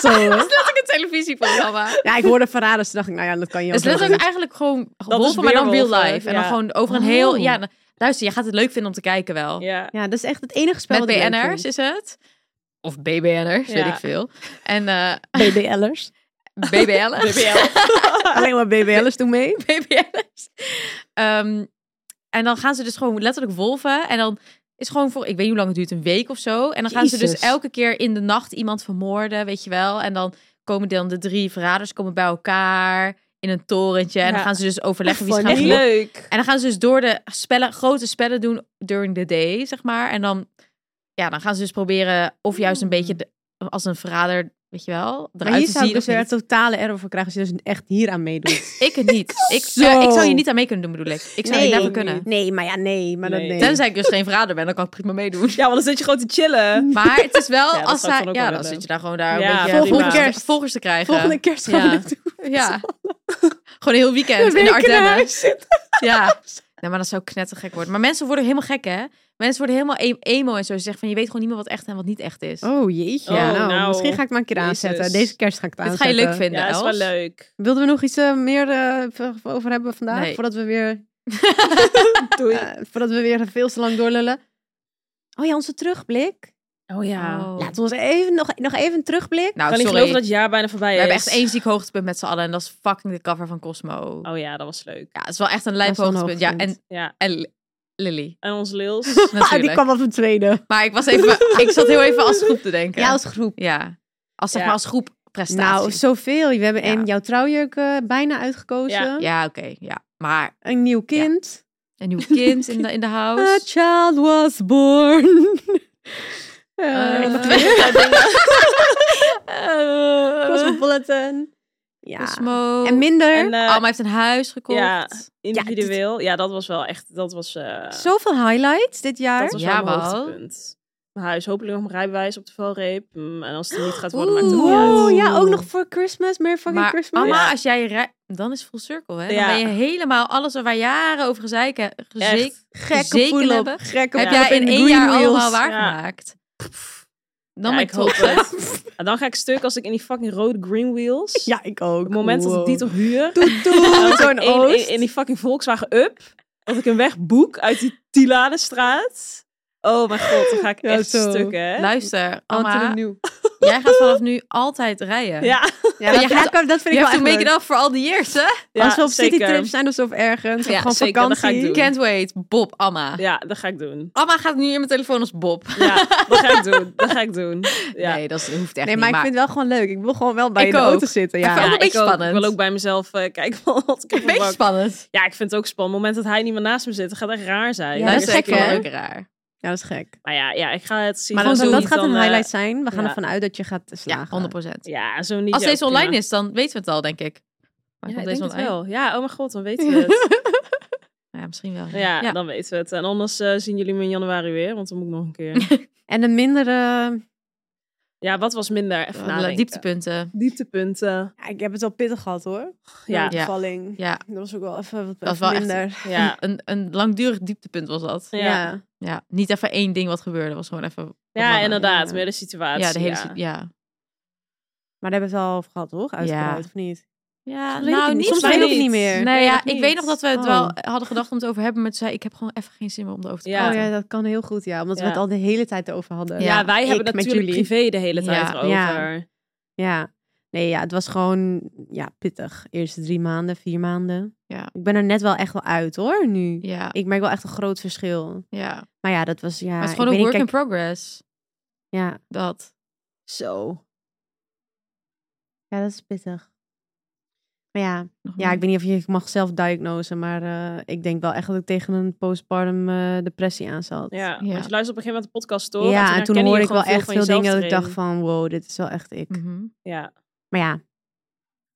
Zo, hè?
Dat is ook een televisieprogramma. Het
ja, ik hoorde verraders. Toen dacht ik, nou ja, dat kan je
is
ook wel
letterlijk
doen.
Dus eigenlijk gewoon
is
wolven, maar dan real
weerwolven,
life. En dan
ja.
gewoon over een
Oh.
heel... Ja, dan- luister, je gaat het leuk vinden om te kijken wel.
ja.
Ja, dat is echt het enige spel
Met
wat ik leuk
BN'ers is het. Of BBN'ers, weet
Ja.
ik veel. En eh
vind. BBL'ers.
BBL'ers.
BBL.
Alleen maar BBL'ers doen mee.
BBN'ers. Ehm, en dan gaan ze dus gewoon letterlijk wolven. En dan is gewoon voor, ik weet niet hoe lang het duurt, een week of zo. En dan gaan ze dus
Jezus.
elke keer in de nacht iemand vermoorden, weet je wel. En dan komen dan de drie verraders komen bij elkaar in een torentje. En dan
Ja.
gaan ze dus overleggen wie ze
Echt
gaan
Echt
leuk.
vermoorden.
leuk.
En dan gaan ze dus door de spellen, grote spellen doen during the day, zeg maar. En dan, ja, dan gaan ze dus proberen of juist een
Mm.
beetje de- als een verrader, weet je wel,
Maar
eruit
hier
te
zou
zien.
ik dus
of
weer
niet.
totale error voor krijgen als je dus echt hier aan meedoet.
Ik het niet. Ik,
Zo.
eh, ik zou je niet aan mee kunnen doen, bedoel ik. Ik zou
Nee.
niet daarvoor kunnen.
Nee, maar ja, nee. Maar
Nee.
dat nee.
Tenzij ik dus geen verrader ben, dan kan ik prima meedoen.
Ja, want dan zit je gewoon te chillen.
Maar het is wel,
Ja, dat
als
zou ik
zij,
dan ook
ja,
wel
dan
willen.
zit je daar gewoon
Ja,
daar een beetje
volgende
volgende
kerst.
volgers te krijgen.
Volgende kerst gaan
Ja.
we dit doen.
Ja. Gewoon een heel weekend in de Ardennen. Ja. Nou, maar dat zou knettergek worden. Maar mensen worden helemaal gek, hè? Mensen worden helemaal e- emo en zo. Ze zeggen van, je weet gewoon niet meer wat echt en wat niet echt is.
Oh jeetje.
Oh,
nou,
nou.
misschien ga ik maar een keer
Jezus.
aanzetten. Deze kerst ga ik het
Dit ga
aanzetten.
je leuk vinden,
Ja, is wel
Els.
leuk.
Wilden we nog iets eh, meer eh, v- over hebben vandaag?
Nee.
Voordat we weer
Doei.
Eh, voordat we weer veel te lang doorlullen. Oh ja, onze terugblik.
oh ja.
Oh.
Laten we ons even, nog, nog even een terugblik.
Nou,
kan niet
sorry.
geloven dat het jaar bijna voorbij
We
is.
hebben echt één ziek hoogtepunt met z'n allen. En dat is fucking de cover van Cosmo.
Oh ja, dat was leuk.
Ja, het is wel echt een
Dat
lijp
is wel een
hoogtepunt. Ja, en,
hoogtepunt.
Ja.
en Li- Lily.
En ons Lils.
Ah, die
Natuurlijk.
kwam op een tweede.
Maar ik, was even, ik zat heel even als groep te denken.
Ja, als groep.
Ja. Als, zeg
Ja.
maar, als groep prestatie.
Nou, zoveel. We hebben
Ja.
een, jouw trouwjurk eh, bijna uitgekozen.
Ja, oké. Ja. Maar
Een nieuw kind.
een nieuw kind in de, in de
A
house.
child was born.
Eh, ik
Eh,
vergeet het wel dingen. Eh,
Cosmopolitan. Ja.
Cosmo.
En minder.
En, eh,
Alma heeft een huis gekocht.
ja,
dit-
individueel. Ja, dat was wel echt... Dat was, eh
Zoveel highlights dit jaar.
dat was wel
Ja, man.
mijn hoogtepunt. Mijn huis, hopelijk nog mijn rijbewijs op de valreep. Mm, en als het er niet gaat worden, maakt het
Oeh.
niet uit.
Oh, ja, ook nog voor Christmas. Meer fucking
maar
Christmas.
Alma,
Ja.
als jij je rij- dan is full circle, hè? Dan
Ja.
ben je helemaal alles waar wij jaren over gezeiken. gezeik-
Echt.
Gekke
zeker
pull-up.
hebben.
Gekke
heb
Ja.
jij
pull-up
in
en
één
green
jaar
wheels.
allemaal waargemaakt. Dan
Ja,
ben
ik
ik
hoop
trots, hè?
het. En dan ga ik stuk als ik in die fucking rode green wheels...
Ja, ik ook.
Op het moment dat ik die toch huur...
Toet,
en
toet,
als ik
zo'n
één-
oost.
één- in die fucking Volkswagen Up... Dat ik een weg boek uit die Tiladestraat. Oh mijn god, dan ga ik
Ja,
echt
zo.
stukken. hè?
Luister,
Anthony
Amma,
Nieuw.
jij gaat vanaf nu altijd rijden.
Ja,
Ja,
dat-
dat, dat, dat
dat-
vind
You
ik wel
have to
echt
make
leuk.
it up for all the years, hè?
ja,
Als we op
zeker.
citytrip zijn of zo of ergens. Of
Ja,
gewoon
zeker, dat
vakantie.
ga ik doen.
Can't wait, Bob, Amma.
Ja, dat ga ik doen.
Amma gaat nu in mijn telefoon als Bob.
Ja, dat ga ik doen. Dat ga ik doen. Ja.
Nee, dat is- hoeft
Nee,
echt niet.
maar ik vind het wel gewoon leuk. Ik wil gewoon wel bij je
Ik
in de
ook.
auto zitten.
Ik
Ja.
vind ook een
Ja,
beetje
ik ook.
spannend.
Ik wil ook bij mezelf eh, kijken wat ik op
een
mijn
beetje
bak-
spannend.
Ja, ik vind het ook spannend. Op het moment dat hij niet meer naast me zit, dat gaat echt raar zijn.
Ja,
dat
dat
is
is
echt
gek,
wel
hè?
ook raar.
ja, dat is gek.
Maar ja, ja, ik ga het zien.
Maar
Als
dat,
zo
dat
niet,
gaat een
dan, eh,
highlight zijn. We gaan
ja.
ervan uit dat je gaat slagen.
Ja, 100%.
ja, zo niet.
Als
ja,
deze
prima.
online is, dan weten we het al, denk ik. Maar
Ja,
komt
ik
deze
denk het
online? Nou
wel. Ja, oh mijn god, dan weten we het.
Ja, misschien wel. Ja.
Ja,
Ja.
dan weten we het. En anders eh, zien jullie me in januari weer, want dan moet ik nog een keer.
En een mindere...
Ja, wat was minder? Even
Eh,
nadenken.
dieptepunten.
Dieptepunten.
Ja, ik heb het al pittig gehad hoor.
Ja,
Ja.
bevalling.
Ja,
Dat was ook wel even wat
Dat was wel echt-
minder.
ja.
een, een langdurig dieptepunt was dat.
Ja.
Ja.
Ja, niet even één ding wat gebeurde, was gewoon even. wat
Ja,
langer.
inderdaad.
ja.
Meer de situatie.
Ja, de hele. si- Ja,
Maar daar hebben we het wel over gehad, toch? Uitgebreid of niet?
ja
Soms weet ik het niet.
soms
Soms weet
wel
ik het niet meer.
Nee,
weet
ja,
het
ik
niet.
weet nog dat we het
Oh.
wel hadden gedacht om het over te hebben, maar toen zei ik, ik heb gewoon even geen zin meer om erover te
Ja.
Oh
praten.
ja, dat kan heel goed, ja. Omdat
Ja.
we het al de hele tijd erover hadden.
Ja, wij
Ik
hebben
met
natuurlijk
jullie.
privé de hele tijd
Ja.
over. Ja.
Ja. Nee, ja, het was gewoon ja, pittig. Eerste drie maanden, vier maanden.
Ja.
Ik ben er net wel echt wel uit hoor, nu.
Ja,
Ik merk wel echt een groot verschil.
ja.
Maar ja, dat was ja.
Maar het is
ik
gewoon een
weet
work
niet,
in progress.
kijk, Ja,
Dat.
zo. Ja, dat is pittig. Maar ja,
Nog
Hmm.
Ja,
meer.
ik weet niet of je ik mag zelf diagnosen, maar eh, ik denk wel echt dat ik tegen een postpartum eh, depressie aan zat.
Ja. want je
Ja.
luistert op een gegeven moment de podcast door.
Ja, en toen
herken je
hoorde ik
gewoon
wel echt veel
van Hmm.
dingen dat ik
jezelf
dacht
erin.
van, wow, dit is wel echt ik.
Mhm.
Ja,
Maar ja,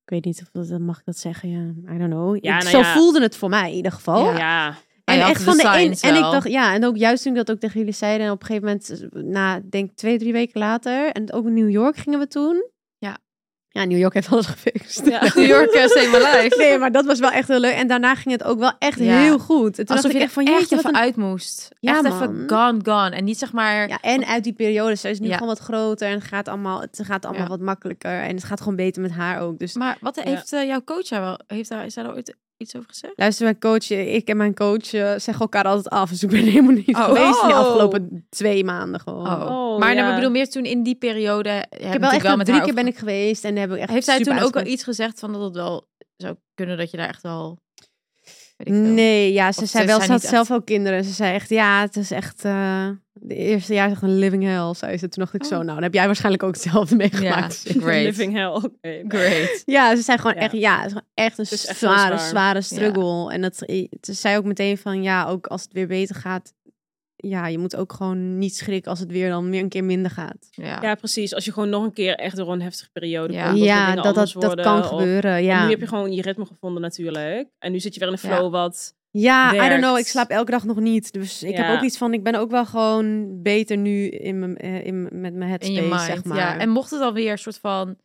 ik weet niet of dat, eh, mag ik dat zeggen, ja, I don't know. Ik-
Ja, nou
zo
ja.
voelde het voor mij in ieder geval.
Ah Ja.
ja.
Maar
En
je had
echt
de
van de een,
signs
en ik
wel.
dacht, ja, en ook juist toen ik dat ook tegen jullie zei, en op een gegeven moment, eh, na denk twee, drie weken later, en ook in New York gingen we toen.
Ja.
Ja, New York heeft alles gefixt.
Ja.
New York eh, Save My Life.
Nee, maar dat was wel echt heel leuk. En daarna ging het ook wel echt
Ja.
heel goed. En Toen dacht
Alsof je
ik
er
echt van,
echt
jeetje, wat
even
een
uit moest.
Ja,
echt
man.
even gone, gone. En niet zeg maar...
Ja, en uit die periode. Ze is nu
Ja.
gewoon wat groter en gaat allemaal, het gaat allemaal
Ja.
wat makkelijker. En het gaat gewoon beter met haar ook. Dus
Maar wat
Ja.
heeft eh, jouw coach daar wel... Heeft daar, is daar al ooit iets over gezegd?
luister, mijn coach, eh, ik en mijn coach eh, zeggen elkaar altijd af. Dus ik ben helemaal niet
Oh.
geweest in de
Oh.
afgelopen twee maanden gewoon.
Oh,
maar
ja.
nou, ik bedoel meer toen in die periode... ja,
Ik
natuurlijk
heb wel echt
met
drie
haar
keer ben
over-
ik geweest en heb ik echt
Heeft hij
super
toen ook al
uitge-
iets gezegd van dat het wel zou kunnen dat je daar echt wel... weet ik veel.
Nee, ja, ze
Of
zei
ze
wel,
zijn
ze had
niet
zelf ook kinderen. Ze zei echt, ja, het is echt, eh, de eerste jaar is echt een living hell, zei ze. Toen dacht ik
Oh.
zo, nou, dan heb jij waarschijnlijk ook hetzelfde
Ja,
meegemaakt.
great.
Living hell. Oké.
Great.
Ja, ze zijn gewoon
Ja.
echt, ja, het is gewoon echt een
is echt heel
zware,
zwaar.
zware struggle. En dat eh, ze zei ook meteen van, ja, ook als het weer beter gaat, ja, je moet ook gewoon niet schrikken als het weer dan weer een keer minder gaat.
Ja.
Ja, precies. Als je gewoon nog een keer echt door een heftige periode
Ja.
komt. of dingen
dat, dat,
anders
dat
worden,
kan
of-
gebeuren,
En
ja.
Nu heb je gewoon je ritme gevonden natuurlijk. En nu zit je weer in een
Ja.
flow wat...
Ja, I
werkt.
don't know, ik slaap elke dag nog niet. Dus ik
Ja.
heb ook iets van, ik ben ook wel gewoon beter nu in mijn, eh, in, m- met mijn
In
headspace,
je mind.
zeg maar.
Ja. En mocht het dan weer een soort van...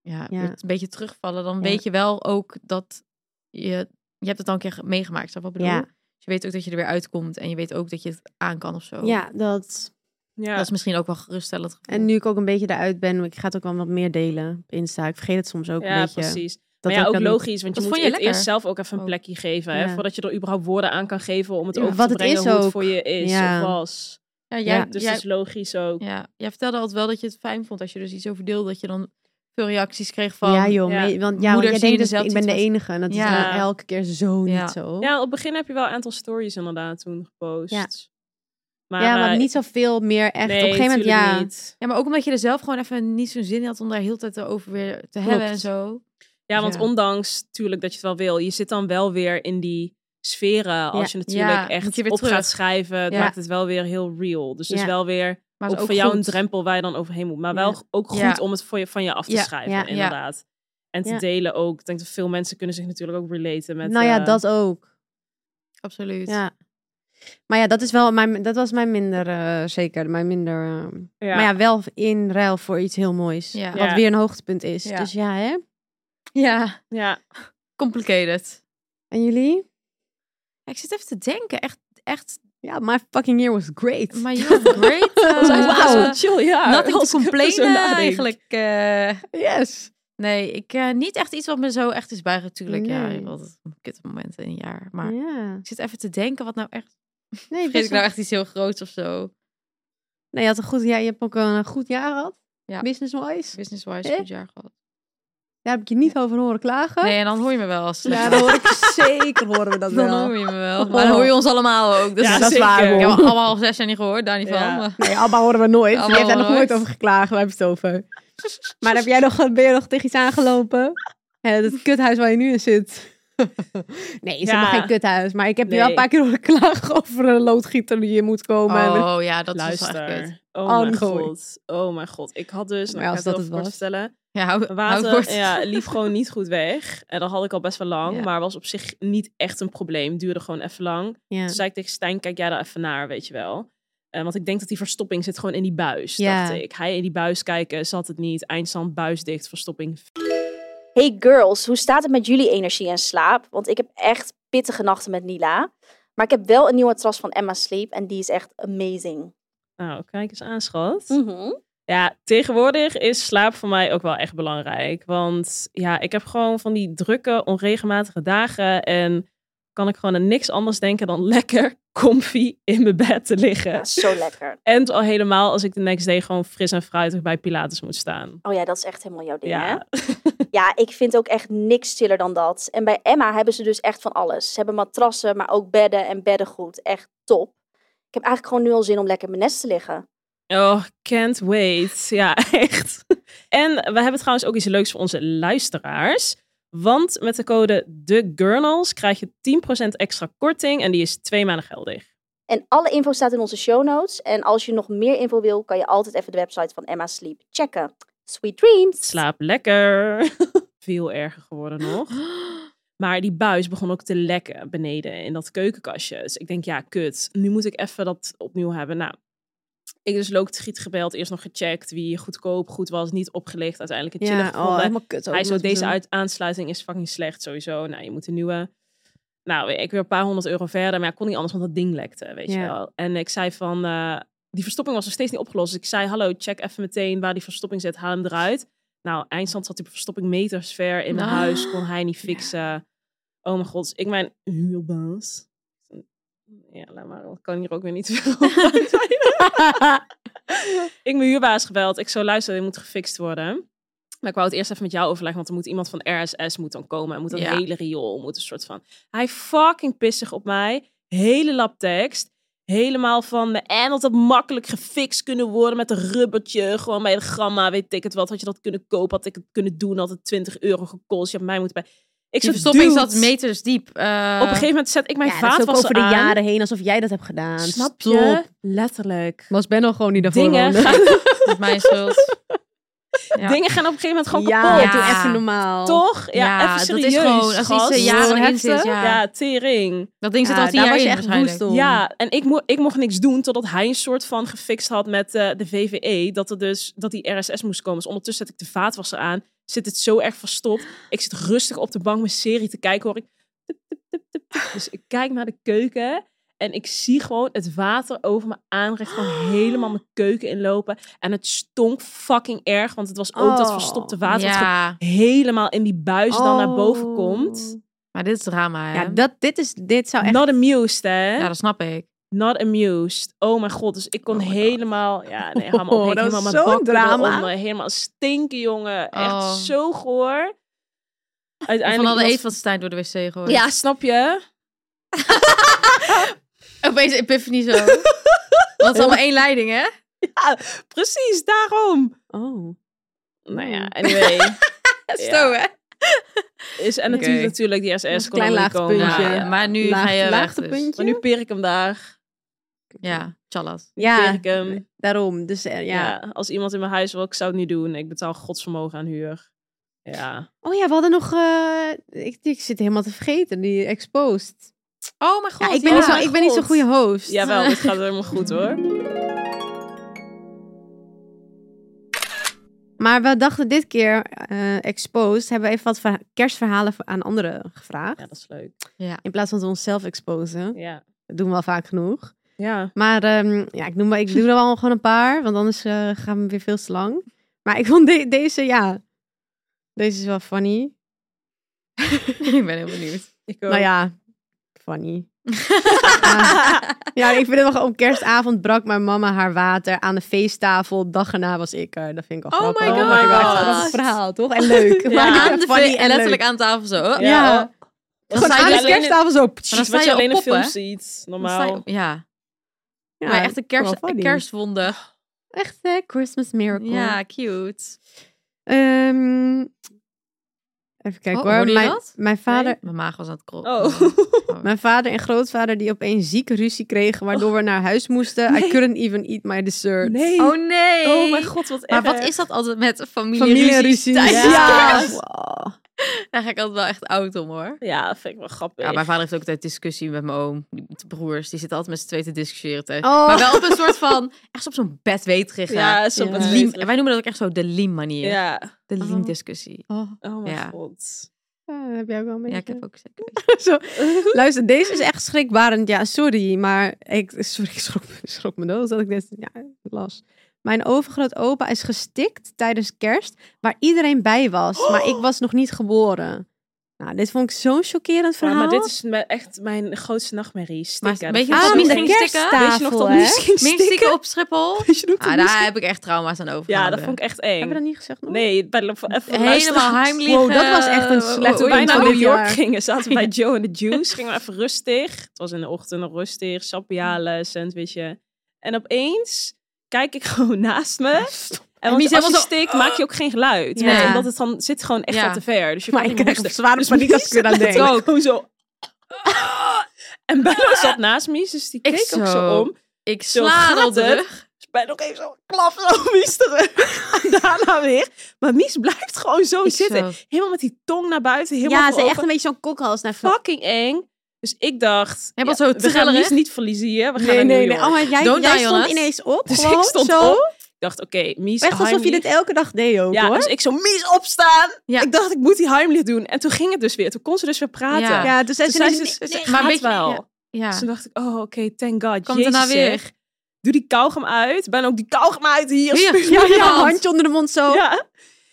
Ja,
Ja.
weer een beetje terugvallen. Dan
Ja.
weet je wel ook dat je... Je hebt het al een keer ge- meegemaakt, snap je wat ik bedoel?
Ja.
Dus je weet ook dat je er weer uitkomt. En je weet ook dat je het aan kan of zo.
ja, dat...
Ja,
Dat is misschien ook wel geruststellend. gevoel.
En nu ik ook een beetje eruit ben, ik ga het ook wel wat meer delen op Insta. Ik vergeet het soms ook
ja
een beetje.
precies.
Dat
maar ja, ook,
dat-
logisch. Want je
Dat
moet
vond je
het
lekker.
eerst zelf ook even een
Oh.
plekje geven. Hè,
Ja.
voordat je er überhaupt woorden aan kan geven om het
Ja.
over
Wat
te
het
brengen
is
hoe het
ook.
voor je is
Ja.
of was.
Ja, jij,
Ja.
Dus
jij,
dat is logisch ook.
ja, jij vertelde altijd wel dat je het fijn vond als je dus iets over deelde, dat je dan veel reacties kreeg van...
ja, joh.
ja,
me- want ja, want
moeders
jij
zien
denkt
er
dus,
zelf
ik ben
iets
de
van.
enige. En dat is
Ja.
dan elke keer zo
Ja.
niet zo.
Ja, op het begin heb je wel een aantal stories inderdaad toen gepost.
Ja.
Maar,
ja,
eh,
want niet zoveel meer echt.
nee,
Op een gegeven moment,
tuurlijk
ja.
niet.
Ja, maar ook omdat je er zelf gewoon even niet zo'n zin in had om daar heel de tijd over weer te hebben en zo.
Ja, want
Ja.
ondanks natuurlijk dat je het wel wil, je zit dan wel weer in die sferen als je natuurlijk
Ja, moet
echt
je weer
op
terug.
gaat schrijven. Het
Ja.
maakt het wel weer heel real. Dus het is
Ja.
wel weer
Maar
ook
het is
voor jou een
goed.
drempel waar je dan overheen moet. Maar wel
Ja.
ook goed
Ja.
om het voor je, van je af te
Ja,
schrijven,
ja, ja.
inderdaad. En te
Ja.
delen ook. Ik denk dat veel mensen kunnen zich natuurlijk ook relaten met...
nou ja,
eh,
dat ook.
Absoluut.
Ja. Maar ja, dat, is wel mijn, dat was mijn minder, eh, zeker. Mijn minder, eh,
ja.
Maar ja, wel in ruil voor iets heel moois.
Ja.
Wat
Ja.
weer een hoogtepunt is.
Ja.
Dus ja, hè.
Ja,
Ja.
complicated.
En jullie?
Ja, ik zit even te denken, echt, echt,
Ja, my fucking year was great.
maar you're great. eh,
Wauw, chill, ja.
Nothing
Als
to
ik er zo
complainen
nadenk.
eigenlijk. eh.
Yes.
nee, ik, eh, niet echt iets wat me zo echt is bijgetuurlijk. Ja,
Nee.
ik had altijd een kut moment in een jaar. Maar
Ja.
ik zit even te denken wat nou echt
Nee,
Vergeet
best
ik nou
wel-
echt iets heel groots of zo.
nee, je, had een goed, ja, je hebt ook een goed jaar gehad.
Ja.
Business-wise.
Business-wise
Eh?
goed jaar gehad.
Daar heb ik je niet over horen klagen.
Nee, en dan hoor je me wel als slecht.
Ja, dat hoor ik zeker horen we dat
dan
wel.
hoor je me wel. Oh. Maar dan hoor je ons allemaal ook. Dus
Ja,
dat is
zeker.
waar.
Ik
hoor.
heb allemaal half zes jaar niet gehoord, daar niet van.
Ja.
maar-
Nee, Abba horen we nooit.
Abba
je hebt daar
horen
nog
we
nooit
nooit.
over geklagen. Waar heb je het over? Maar heb jij nog, ben je nog tegen iets aangelopen? Ja, dat kuthuis waar je nu in zit. Nee, is
Ja.
helemaal geen kuthuis. Maar ik heb je wel een
Nee.
paar keer horen klagen over een loodgieter die hier moet komen. En-
Oh ja, dat is wel echt kut.
Luister. Oh,
Oh,
mijn
gooi.
god. Oh mijn god. Ik had dus,
Maar
nou, ik
als
ga
dat
het
het
heel kort
was.
vertellen.
Ja, hou, hou het kort.
Water ja, liep gewoon niet goed weg. En dat had ik al best wel lang.
Ja.
Maar was op zich niet echt een probleem. Duurde gewoon even lang.
ja.
Toen zei ik tegen Stijn, kijk jij daar even naar, weet je wel. Eh, want ik denk dat die verstopping zit gewoon in die buis,
Ja.
dacht ik. Hij in die buis kijken, zat het niet. Eindstand, buis dicht, verstopping.
Hey girls, hoe staat het met jullie energie en slaap? Want ik heb echt pittige nachten met Nila. Maar ik heb wel een nieuwe matras van Emma Sleep en die is echt amazing.
Nou, kijk eens aan, schat. Ja, tegenwoordig is slaap voor mij ook wel echt belangrijk. Want ja, ik heb gewoon van die drukke, onregelmatige dagen. En kan ik gewoon aan niks anders denken dan lekker comfy in mijn bed te liggen.
Ja, zo lekker.
En het al helemaal als ik de next day gewoon fris en fruitig bij Pilates moet staan.
Oh ja, dat is echt helemaal jouw ding, hè?
Ja,
Ja, ik vind ook echt niks stiller dan dat. En bij Emma hebben ze dus echt van alles. Ze hebben matrassen, maar ook bedden en beddengoed. Echt top. Ik heb eigenlijk gewoon nu al zin om lekker in mijn nest te liggen.
oh, can't wait. Ja, echt. En we hebben trouwens ook iets leuks voor onze luisteraars. Want met de code TheGurnals krijg je 10% extra korting en die is twee maanden geldig.
En alle info staat in onze show notes. En als je nog meer info wil, kan je altijd even de website van Emma Sleep checken. Sweet dreams!
Slaap lekker. Veel erger geworden nog. Maar die buis begon ook te lekken beneden in dat keukenkastje. Dus ik denk, ja, kut. Nu moet ik even dat opnieuw hebben. Nou, ik dus loodgiet gebeld. Eerst nog gecheckt wie goedkoop, goed was, niet opgelicht. Uiteindelijk een chille
Ja, oh, helemaal kut ook.
Hij zo,
moet ik
deze
doen.
uit- aansluiting is fucking slecht sowieso. Nou, je moet een nieuwe. Nou, ik weer een paar honderd euro verder. Maar ja, kon niet anders, want dat ding lekte, weet je
Ja.
wel. En ik zei van, eh, die verstopping was nog steeds niet opgelost. Dus ik zei, hallo, check even meteen waar die verstopping zit. Haal hem eruit. Nou, eindstand zat die verstopping meters ver in mijn
Ah.
huis. Kon hij niet fixen. Oh mijn god, dus ik mijn huurbaas. Ja, laat maar. Ik kan hier ook weer niet veel over kwijt. Ik mijn huurbaas gebeld. Ik zo, luister, dit moet gefixt worden. Maar ik wou het eerst even met jou overleggen, want er moet iemand van RSS moet dan komen. En moet dat
Ja.
hele riool, moet een soort van... Hij fucking pissig op mij. Hele lap tekst. Helemaal van me. En dat dat makkelijk gefixt kunnen worden met een rubbertje. Gewoon bij de gramma, weet ik het wat. Had je dat kunnen kopen, had ik het kunnen doen. Had het 20 euro gekost. Je hebt mij moeten bij... Ik
Die
zo,
verstopping
dude.
zat meters diep. eh,
Op een gegeven moment zet ik mijn
ja, dat is ook
vaatwasser
over de
aan.
jaren heen alsof jij dat hebt gedaan.
Snap
Stop.
je? Letterlijk.
Was Ben al gewoon niet daarvoor
Dingen
woonde.
gaan,
dat is mijn schuld. Ja.
dingen gaan op een gegeven moment gewoon
Ja,
kapot.
Ja.
doe even normaal.
Toch? Ja,
Ja,
even
dat
serieus,
is gewoon- als iets
gast.
er jaren in zit, ja.
Ja, tering.
Dat ding zit
Ja,
al tien
daar
jaar
was je
in
echt
waarschijnlijk.
woest om.
Ja, en ik, mo ik mocht niks doen totdat hij een soort van gefixt had met eh, de VVE. Dat, er dus, dat die RSS moest komen. Dus ondertussen zet ik de vaatwasser aan. Zit het zo erg verstopt. Ik zit rustig op de bank mijn serie te kijken. Hoor ik... tup, tup, tup, tup, tup. Dus ik kijk naar de keuken. En ik zie gewoon het water over mijn aanrecht gewoon helemaal mijn keuken inlopen. En het stonk fucking erg. Want het was ook dat
Oh,
verstopte water. wat
Ja,
helemaal in die buis dan naar boven
Oh.
komt.
maar dit is drama, hè?
Ja, dat, dit, is, dit zou Nou, echt...
Not amused, hè?
Ja, dat snap ik.
Not amused. Oh mijn god, dus ik kon
Oh my God.
helemaal... Ja, nee, ga maar op.
Oh, dat
helemaal
is
mijn
zo'n
bakken
drama.
eronder. Helemaal stinken, jongen. Echt
Oh.
zo goor.
En van
Uiteindelijk...
alle
was-
eten van Stijn door de wc gegooid.
Ja, snap je?
Opeens epiphany zo. Want het is allemaal één leiding, hè?
Ja, precies, daarom.
Oh.
Nou ja,
Mm.
anyway.
Zo, hè?
Is, en
Oké.
natuurlijk, natuurlijk die
is
SS.
een
kon
klein
er niet komen.
laagpuntje.
Ja,
Ja,
ja.
maar nu ga je weg, dus.
puntje.
Maar nu peer ik hem daar.
Ja, tjallas.
Peer
Ja,
ik hem.
daarom. Dus eh, ja.
Ja. als iemand in mijn huis wil, ik zou het niet doen. Ik betaal godsvermogen aan huur. Ja.
Oh ja, we hadden nog... eh, ik, ik zit helemaal te vergeten, die exposed.
Oh mijn god,
ja, ik ben, niet, zo, ik ben niet zo'n goede host.
Jawel, dit gaat helemaal goed hoor.
Maar we dachten dit keer, eh, exposed, hebben we even wat verha- kerstverhalen voor- aan anderen gevraagd.
Ja, dat is leuk.
In plaats van dat we onszelf exposen.
Ja.
Dat doen we al vaak genoeg.
Ja.
Maar ehm, ja, ik, noem, maar- ik doe er wel gewoon een paar, want anders eh, gaan we weer veel te lang. Maar ik vond de- deze, ja, deze is wel funny.
ik ben heel benieuwd.
Ik ook.
Nou ja, funny. Ja, ik vind het wel gewoon, op kerstavond brak mijn mama haar water aan de feesttafel. Dag erna was ik er. Dat vind ik al
Oh
grappig.
my
Oh my
god.
god. Dat is het verhaal, toch? En leuk. Maar
aan de
funny
ve-
en
letterlijk
leuk.
aan tafel zo. hè?
Ja.
Ja.
Dan
Gewoon
sta je
aan
dus-
de kersttafel zo.
dan
Precies
sta
wat
je
je alleen
op
in
poppen.
films ziet,
dan sta je
normaal.
op- Ja,
Ja,
maar echt een, kerst,
wel funny.
kerstwonde.
Echt, hè? Christmas miracle.
Ja, cute.
Ehm, even kijken
Oh,
hoor.
hoorde je
mijn,
dat?
mijn vader...
Mijn maag was aan het kroppen.
Oh.
Mijn vader en grootvader die opeens zieke ruzie kregen, waardoor we naar huis moesten. I
Nee.
couldn't even eat my dessert.
Nee.
Oh nee.
Oh mijn god, wat
Maar
erg.
Eh,
wat is dat altijd met familieruzie?
Familieruzie.
tijdens
Ja.
kerst?
Wow.
Daar ga ik altijd wel echt oud om hoor.
Ja, dat vind ik wel grappig.
Ja, mijn vader heeft ook altijd discussie met mijn oom. Die de broers, die zitten altijd met z'n twee te discussiëren. tijdens-
Oh.
Maar wel op een soort van, echt op zo'n bedweterige.
Ja, zo
Ja.
met
liem,
betere-
wij noemen dat ook echt zo de liem manier.
Ja.
De
Oh.
liem discussie.
Oh mijn
Ja.
god.
Ja, heb jij ook wel een beetje...
Ja, ik heb ook zeker.
Luister, deze is echt schrikbarend. Ja, sorry, maar ik, sorry, ik schrok, ik schrok me dood dat ik dit ja, las. Mijn overgrootopa is gestikt tijdens kerst, waar iedereen bij was. Maar ik was nog niet geboren. Nou, dit vond ik zo'n chockerend
Ja,
verhaal.
maar dit is me- echt mijn grootste nachtmerrie. Stikken.
Maar weet je
Dat
wat
vind
aan
ik
ze
Ah, de
zo
ging
eng.
stikken?
Weet je nog
kersttafel,
dat
hè?
moes ging
Meer
stikken?
stikken op Schiphol?
Weet je nog
Ah,
toen moes-
daar heb ik echt trauma's aan over.
Ja, dat
gehouden.
vond ik echt
Hebben we
eng.
dat niet gezegd nog?
Nee, bij de voor- even voor de
Helemaal
luisteraars.
heimlich.
Wow, dat was echt een
eh,
slechte
Toen
oei,
wij
bijna van
naar
oei,
New
oei.
dit
York
jaar.
Oh, gingen, zaten we bij Joe en de Juice. Gingen we even rustig. Het was in de ochtend nog rustig. Sappialen, sandwichje. En opeens kijk ik gewoon naast me. En want
die zijn
als je
wel zo-
stikt, maak je ook geen geluid.
Ja.
Want omdat het dan zit gewoon echt
Ja.
wat te ver. Dus je
Maar
kan
ik
niet meer
krijg
hoesten.
zware
Dus
paniek als ik er aan
Mies
denk.
zat ook gewoon zo... En Bello zat naast Mies, dus die
Ik
keek ook
zo.
zo om. Dus
Ik
Zo
sla
gaat
al de
het.
rug.
Dus Bello geeft zo een klap zo Mies terug. En daarna weer. Maar Mies blijft gewoon zo
Ik
zitten.
zo.
Helemaal met die tong naar buiten. Helemaal
Ja,
voor
ze echt
open.
een beetje zo'n kokhals naar
fucking eng. Dus ik dacht,
Ja, wat zo
we gaan
trillerig.
Mies niet verliezen hier. We gaan
Nee,
naar
nee,
New
nee.
York.
Oh, maar jij,
Don't
jij
die on
stond
us.
ineens op.
Dus
gewoon,
ik stond
zo.
op. Ik dacht, oké, Mies,
Echt alsof je
Heimlich.
dit elke dag deed ook,
Ja,
hoor.
dus ik zo, Mies, opstaan!
Ja.
Ik dacht, ik moet die Heimlich doen. En toen ging het dus weer. Toen kon ze dus weer praten.
Ja.
Ja, dus
Toen
ze
zei
ineens-
ze, dus,
nee,
ze
maar
gaat
weet je-
wel. Dus
Ja.
toen dacht ik, oh, oké, thank God.
Komt
Jezus,
daarna weer.
zeg. Doe die kauwgom uit. Ben ook die kauwgom uit hier.
Hier.
spuug
Ja,
maar in
ja,
mijn hand.
handje onder de mond zo.
Ja.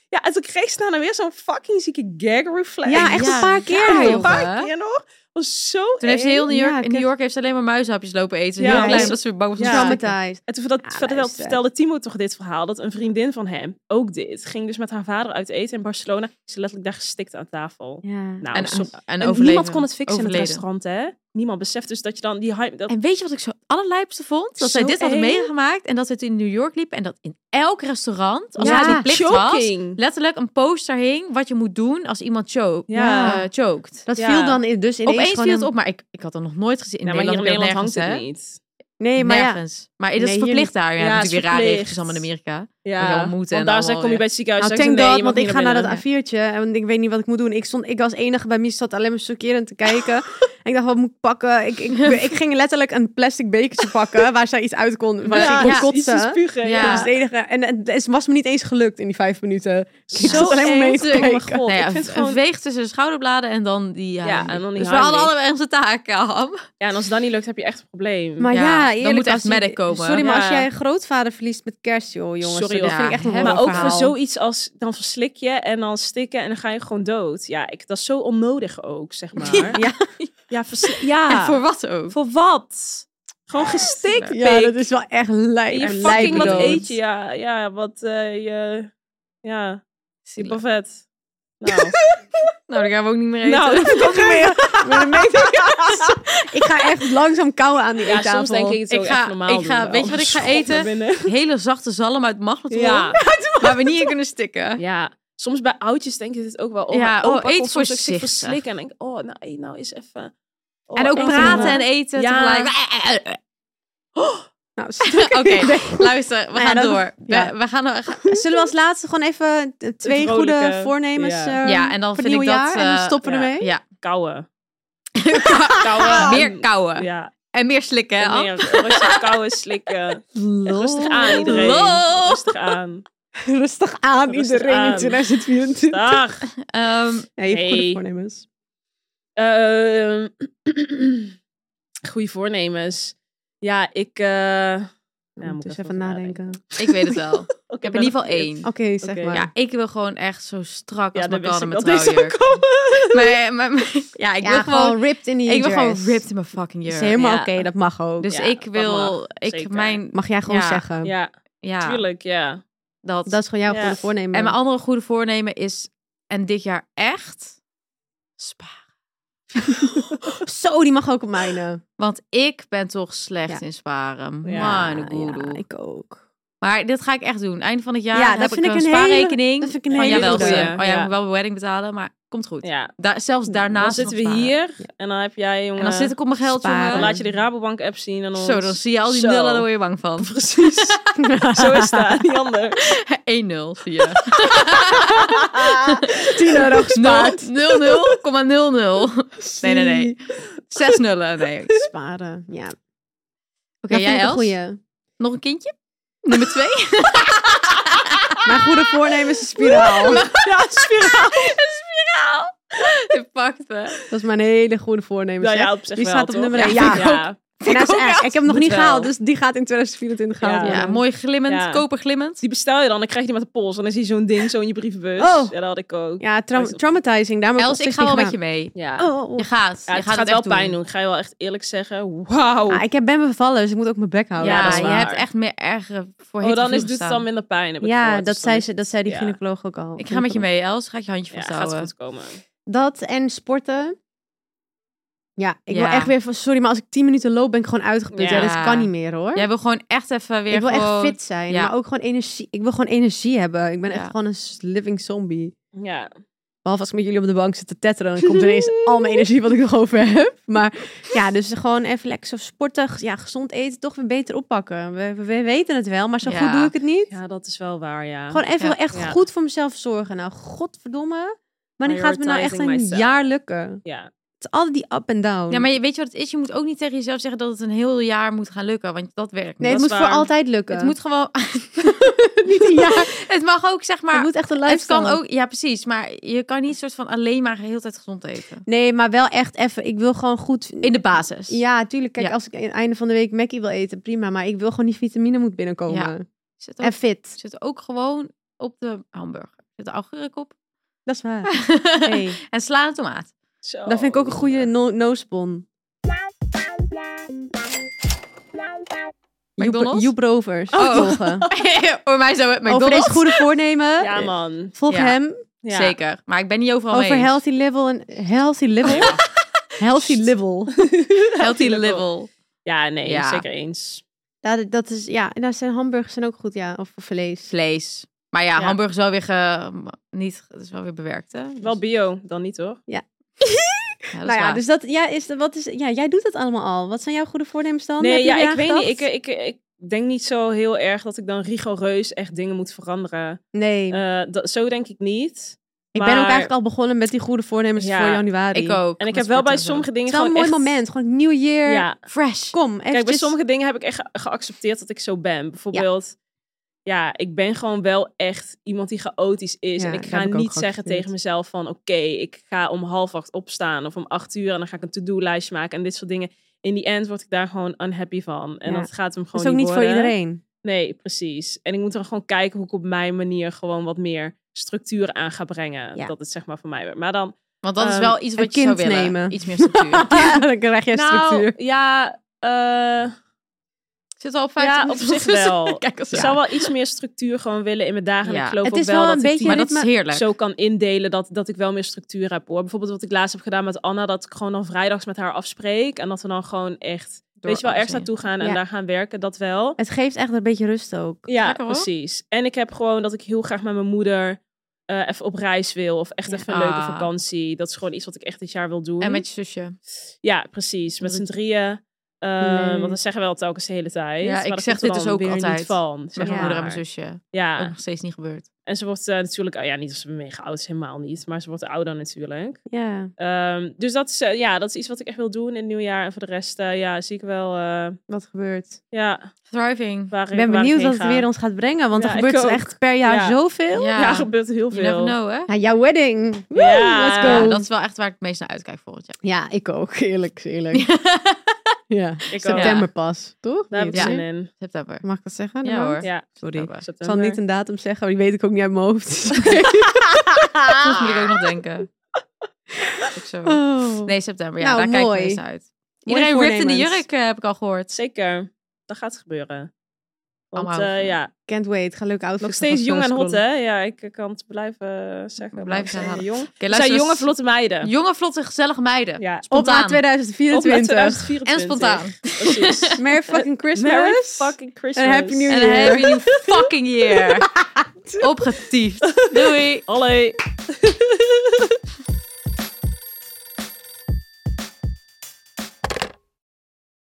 Ja, en toen kreeg ze daarna weer zo'n fucking zieke gag reflex.
Ja, echt
Ja,
een paar
ja,
keer,
joh.
Een
joh.
paar keer nog. Was zo
Toen heeft ze
eng.
heel New York,
Ja,
in New York heeft ze alleen maar muizenhapjes lopen eten.
Ja,
heel
maar
klein,
ze-
omdat ze weer bang was om
Ja.
te stikken.
Traumatized.
En toen vertelde,
Ja,
vertelde,
Ah, luister.
vertelde Timo toch dit verhaal, dat een vriendin van hem ook dit. Ging dus met haar vader uit eten in Barcelona. Ze letterlijk daar gestikt aan tafel.
Ja.
Nou,
En,
zo-
en,
en
overleven.
niemand kon het fixen in
Overleden.
het restaurant, hè? Niemand beseft dus dat je dan die hype... Dat,
En weet je wat ik zo allerlijpste vond? Dat zij
Zo
dit hadden
eng.
meegemaakt en dat het in New York liep. En dat in elk restaurant, als
Ja,
hij die plicht was,
shocking.
letterlijk een poster hing wat je moet doen als iemand choke,
Ja.
eh, choked.
Dat
Ja.
viel dan in- dus ineens
Opeens
gewoon
viel het
een-
op, maar ik, ik had dat nog nooit gezien. In
nou, maar hier in
Nederland,
Nederland
heb
hangt
je dat
het
nergens,
niet.
Nee,
hè?
maar ja.
Nergens. Maar dat is
Nee, hier
verplicht daar. Ja,
Ja,
dat
het
is
is
weer raar
verplicht.
regels allemaal in Amerika.
Ja,
je al moet en
want daar
allemaal,
zijn, kom je
ja.
bij het ziekenhuis.
Nou,
zeggen
thank
ze, nee,
god,
je
want
mag
ik
niet
ga naar dat
binnen.
A4'tje en ik weet niet wat ik moet doen. Ik, stond, ik was enige bij Mies, zat alleen maar chockerend te kijken. en ik dacht, wat moet ik pakken? Ik, ik, ik ging letterlijk een plastic bekertje pakken waar zij iets uit kon, waar
Ja,
ze kon
ja.
iets te
kotsen.
spugen.
Ja.
Dat
Ja.
was het enige. En het het was me niet eens gelukt in die vijf minuten. Ik
Zo
zat alleen maar mee
eng.
te
Oh mijn
kijken.
god,
Nou ja,
ik vind
een
het gewoon...
veeg tussen de schouderbladen en dan die
Ja,
haring.
en dan die
Dus we hadden
haring.
allebei onze taken, Ham.
Ja, en als dat niet lukt, heb je echt een probleem.
Maar
Ja,
ja,
dan
eerlijk,
moet echt
als je-
medic komen.
Sorry, maar als
Ja.
jij een grootvader verliest met kerst, joh, jongens.
Sorry,
dat
hoor.
vind ik echt
Ja,
een
hè,
maar
horror
ook voor
verhaal.
zoiets als dan verslik je en dan stikken en dan ga je gewoon dood. Ja, ik, dat is zo onnodig ook, zeg maar. Ja,
Ja.
ja, vers- ja.
En voor wat ook.
Voor wat? Gewoon gestikt.
Ja,
pik.
dat is wel echt lijp.
En je
echt
fucking wat
lijpdood.
eet je. Ja, ja wat eh, je. Ja, die
Zielig.
buffet. Nou,
Nou, dan gaan we ook niet meer eten.
nou dat kan niet meer.
Maar dan weet ik- ik ga echt langzaam kauwen aan die
Ja,
eettafel.
soms denk ik het
Ik
ook
ga-
echt normaal
ik ga-
doen,
weet je wat ik ga
Schop naar
eten?
binnen.
Hele zachte zalm uit magnetron.
Ja.
Waar we niet in kunnen stikken.
Ja, soms bij oudjes denk je dit ook wel. Oh,
Ja,
mijn
oh,
opa
eet
kon soms ook zich
voorzichtig.
verslikken. En denk ik, oh, nou, eet nou eens even. Oh,
en ook
eet
praten
nou.
en eten
Ja.
tegelijk.
Nou, stuk.
Oké, luister, we
Nou ja,
gaan
dat-
door. We-
ja.
We, gaan, we gaan-
Zullen we als laatste gewoon even eh, twee goede
vrolijke,
voornemens
ja.
eh,
Ja, en dan
voor
vind ik
nieuwjaar?
dat,
en
eh,
dan stoppen we
ja.
ermee?
ja.
Kouwen.
Kauwen.
Kauwen.
Meer kauwen.
Ja,
En meer slikken, hè?
en
Anne?
meer rustig kouwen, slikken. En Rustig aan iedereen.
Lol.
Rustig aan.
Rustig aan
Rustig
iedereen in
aan.
2024.
Dag.
Ehm,
Nee, goede
Hey.
voornemens.
Ehm goede voornemens. Ja, ik eh, Ja, moet ik
dus
even
even
over
nadenken. Oké,
Ik weet het wel.
Oké,
Ik heb in
ben
ieder geval
ik-
één.
zeg
Oké.
maar.
Ja, ik wil gewoon echt zo strak als
Ja,
ja,
dan wist
Madonna
ik
met
dat deze zou
trouwjurk.
komen.
Maar, maar, maar- ja, ik
Ja,
wil gewoon,
gewoon ripped in die
ik wil gewoon
dress.
ripped in mijn
Dat
fucking jurk.
is helemaal
Ja.
oké, dat mag ook.
Dus
Ja,
ik
dat
wil,
mag,
ik
zeker.
mijn,
mag jij gewoon
Ja.
zeggen.
Ja,
ja,
tuurlijk, ja.
dat.
Dat is gewoon jouw
Ja.
goede voornemen.
En mijn andere goede voornemen is, en dit jaar echt, sparen.
Zo, die mag ook op mijne.
Want ik ben toch slecht
Ja.
in sparen.
Ja,
Man, goeroe.
ik ook.
Maar dit ga ik echt doen. Eind van het jaar
Ja,
heb
dat
ik
vind ik
een
een hele-
spaarrekening.
dat vind ik een
van
hele
jawel,
goeie.
Sam. Oh ja,
Ja.
ik moet wel mijn wedding betalen, maar komt goed.
ja.
Daar, zelfs
Dan
daarnaast
zitten
nog
we
sparen.
hier en dan heb jij, jongen...
En dan zit ik op mijn geld,
Sparen.
jongen.
dan laat je die Rabobank-app zien en ons...
Zo, dan zie je al die
Zo.
nullen, daar word je bang van.
Precies. Zo is dat, niet anders.
1-0 zie je.
10 euro
0,00. Nee, nee, nee. Zes nullen, nee. Oké,
Sparen, ja. Oké,
jij Els?
Goede.
Nog een kindje? Nummer twee?
Mijn goede voornemen is een spiraal.
Ja, spiraal.
Spiraal. Je pakt me.
dat is mijn hele goede voornemen.
Nou
zeg.
ja, op zich
Die
wel,
staat op
toch?
nummer één.
Ja,
Ja,
ja.
En hij is
ook
echt-
wel.
ik heb hem nog
Moet
niet gehaald,
wel.
dus die gaat in 2024 gehaald
Ja.
worden.
Ja, mooi glimmend,
Ja.
koper glimmend.
Die bestel je dan, dan krijg je die met de pols. En dan zie je zo'n ding zo in je brievenbus.
Oh.
Ja, dat had ik ook.
Ja, tra- traumatizing. Daarom heb
Els,
het
ik
op
ga
zich
wel
niet
met je mee.
Ja.
gedaan. Oh, oh, oh.
Je gaat.
Ja,
je
het
gaat
gaat
het
wel
echt
pijn
doen.
doen. Ik ga je wel echt eerlijk zeggen. Wauw.
Ah, ik heb ben bevallen, dus ik moet ook mijn bek houden.
ja,
dat is
je
waar.
hebt echt meer ergere voor
oh,
hete
dan is,
vloer
doet het
gestaan.
dan minder pijn. heb ik
Ja,
gehoord.
dat
Dus
zei,
dan
ze, dat zei die
ja.
gynaecoloog ook al.
Ik ga met je mee, Els. Ga ik je handje
is- Ja, gaat
vasthouden.
goed komen.
Dat en sporten. Ja, ik wil
Ja.
echt weer van... Sorry, maar als ik 10 minuten loop, ben ik gewoon uitgeput. Ja,
Ja.
dat kan niet meer, hoor.
Jij wil gewoon echt even weer
ik wil
gewoon...
echt fit zijn,
ja.
maar ook gewoon energie. Ik wil gewoon energie hebben. Ik ben
Ja.
echt gewoon een s- living zombie.
Ja.
Behalve als ik met jullie op de bank zit te tetteren, dan komt er ineens al mijn energie wat ik nog over heb. Maar ja, dus gewoon even lekker zo sporten, g- ja, gezond eten, toch weer beter oppakken. We, we- we weten het wel, maar zo
Ja.
goed doe ik het niet.
ja, dat is wel waar, ja.
Gewoon even
Ja.
echt
Ja.
goed voor mezelf zorgen. Nou, godverdomme. Wanneer gaat het me nou echt een
Prioritizing myself.
jaar lukken?
Ja.
Het is altijd die up en down.
Ja, maar je, weet je wat het is? Je moet ook niet tegen jezelf zeggen dat het een heel jaar moet gaan lukken, want dat werkt
nee,
niet.
het moet
dat is eh.
voor
waar.
altijd lukken.
Het moet gewoon...
niet een jaar.
het mag ook, zeg maar...
het moet echt een
Het
lifestyle.
kan ook, ja precies, maar je kan niet soort van alleen maar de hele tijd gezond eten.
Nee, maar wel echt even. Ik wil gewoon goed
In de basis.
Ja, tuurlijk. Kijk,
Ja.
als ik aan het einde van de week Mackie wil eten, prima. Maar ik wil gewoon die vitamine moet binnenkomen.
Ja. Zit ook,
En fit.
zit ook gewoon op de hamburger. Zit de augurk op.
Dat is waar. Hey,
en sla een tomaat.
Zo.
dat vind ik ook een goede no- no-spon. Joep-
McDonald's?
Joep Rovers.
Oh.
Volgen.
Voor mij zou het
Over
McDonald's.
deze goede voornemen.
Ja, man.
Volg
Ja.
hem.
Ja.
Zeker, maar ik ben niet overal
Over
mee eens.
healthy level en healthy
Oh,
level. healthy level.
healthy
level.
level.
Ja, nee,
Ja.
zeker eens.
Dat, dat is ja. En daar zijn hamburgers zijn ook goed, ja. Of vlees.
Vlees. Maar ja,
Ja.
hamburger is wel weer ge- niet, het is wel weer bewerkt hè. Dus-
Wel bio, dan niet hoor.
Ja, dat is
Nou ja,
waar.
dus dat ja is wat is ja. Jij doet dat allemaal al. Wat zijn jouw goede voornemens dan? Heb
Nee,
je
ja, ik
eraan
weet niet.
gedacht?
Ik, eh, ik, ik denk niet zo heel erg dat ik dan rigoureus echt dingen moet veranderen.
Nee.
Eh, dat, zo denk ik niet.
Ik
Maar-
ben ook eigenlijk al begonnen met die goede voornemens
Ja,
voor januari.
ik ook.
En ik heb
met
wel
sporten
bij
en zo.
sommige
Het
dingen
Oh, is wel
gewoon
een mooi moment.
echt-
Gewoon nieuw year.
Ja.
Fresh. Kom, even.
Kijk, bij sommige dingen heb ik echt ge- geaccepteerd dat ik zo ben. Bijvoorbeeld, ja, ik ben gewoon wel echt iemand die chaotisch is.
Ja,
en ik
dat
ga
heb ik ook
niet zeggen
geaccepteerd.
tegen mezelf van... oké, ik ga om half acht opstaan of om acht uur... en dan ga ik een to-do-lijstje maken en dit soort dingen. In die end word ik daar gewoon unhappy van. En
Ja.
dat gaat hem
Dat
gewoon
is ook niet voor
worden.
iedereen.
Nee, precies. En ik moet dan gewoon kijken hoe ik op mijn manier... gewoon wat meer structuur aan ga brengen.
Ja.
Dat het zeg maar voor mij werkt. Maar dan
Want dat is
Ehm,
wel iets
een
wat je zou
kind
willen.
nemen.
Iets meer structuur.
Ja, dan krijg je structuur.
Nou, ja, eh,
Zit al op
Ja,
15
op
minuten
zich
tussen.
wel.
Kijk als
ik zou wel iets meer structuur gewoon willen in mijn dagen. En
Ja.
ik geloof
Het
ook
is
wel,
wel
dat
een
ik die
beetje
Maar dat is
ritme-
heerlijk.
zo kan indelen dat, dat ik wel meer structuur heb hoor. Bijvoorbeeld wat ik laatst heb gedaan met Anna, dat ik gewoon dan vrijdags met haar afspreek. En dat we dan gewoon echt,
Door
weet je wel,
alles
ergens naartoe gaan en
Ja.
daar gaan werken, dat wel.
Het geeft echt een beetje rust ook.
Ja,
Lekker, hoor.
precies. En ik heb gewoon dat ik heel graag met mijn moeder eh, even op reis wil. Of echt even een leuke
Ah.
vakantie. Dat is gewoon iets wat ik echt dit jaar wil doen.
En met je zusje.
Ja, precies. Met
Dat
z'n
het-
drieën. Eh,
Leuk.
Want dat zeggen we al telkens de hele tijd.
Ja,
maar
ik
dat
zeg
komt er
dit dus
dan
ook
weer niet
altijd.
Van,
Met
zeg
mijn
Ja.
moeder en mijn
maar.
zusje. Oh. Ook
Ja,
nog steeds niet gebeurd.
en ze wordt eh, natuurlijk, oh ja, niet als ze mega oud is, helemaal niet, maar ze wordt ouder natuurlijk.
Ja.
Ehm, dus dat is, eh, ja, dat is iets wat ik echt wil doen in het nieuwjaar. En voor de rest, eh, ja, zie ik wel, eh,
Wat gebeurt?
ja,
Thriving.
waar
Ik ben
waar
benieuwd
heen
wat het
ga.
weer ons gaat brengen. Want
Ja,
er
ik
gebeurt
ook.
echt per jaar
Ja.
zoveel.
Ja, er gebeurt heel
You never
veel.
know, hè?
Ja, jouw wedding. Woe,
Ja.
let's go.
Ja,
Ja,
dat is wel echt waar ik het meest naar uitkijk volgend jaar.
ik ook. Eerlijk, is eerlijk. Ja.
Ik ook.
September pas, toch?
Daar heb ik
Ja.
zin in.
September.
Mag ik dat zeggen?
Ja
dan?
hoor.
Ja,
Sorry. Ik
September.
september.
zal niet een datum zeggen, maar die weet ik ook niet uit mijn hoofd.
Soms moet ik ook nog denken. Ah. Dat is ook zo.
Oh.
Nee, september. Ja,
Nou,
daar kijk ik
mooi.
me eens naar uit.
Mooie
Iedereen ripped in de
voornemens.
jurk, eh, heb ik al gehoord.
Zeker. Dat gaat gebeuren. Want
Allemaal
eh,
over.
ja,
Can't wait. Ga leuk outfit.
nog
gaan
steeds jong en hot,
scrollen.
hè? Ja, ik kan het blijven zeggen.
We blijven
maar we
ze
zijn
herhalen.
jong.
Oké,
We zijn
luister, dus
jonge, vlotte meiden.
Jonge, vlotte, gezellige meiden.
Ja.
Op naar
Spontaan.
2024.
Op naar 2024.
En spontaan.
Precies.
Merry fucking Christmas.
Merry fucking Christmas.
En Happy New
En
Year.
dan heb je die fucking year. Opgetiefd. Doei.
Allee.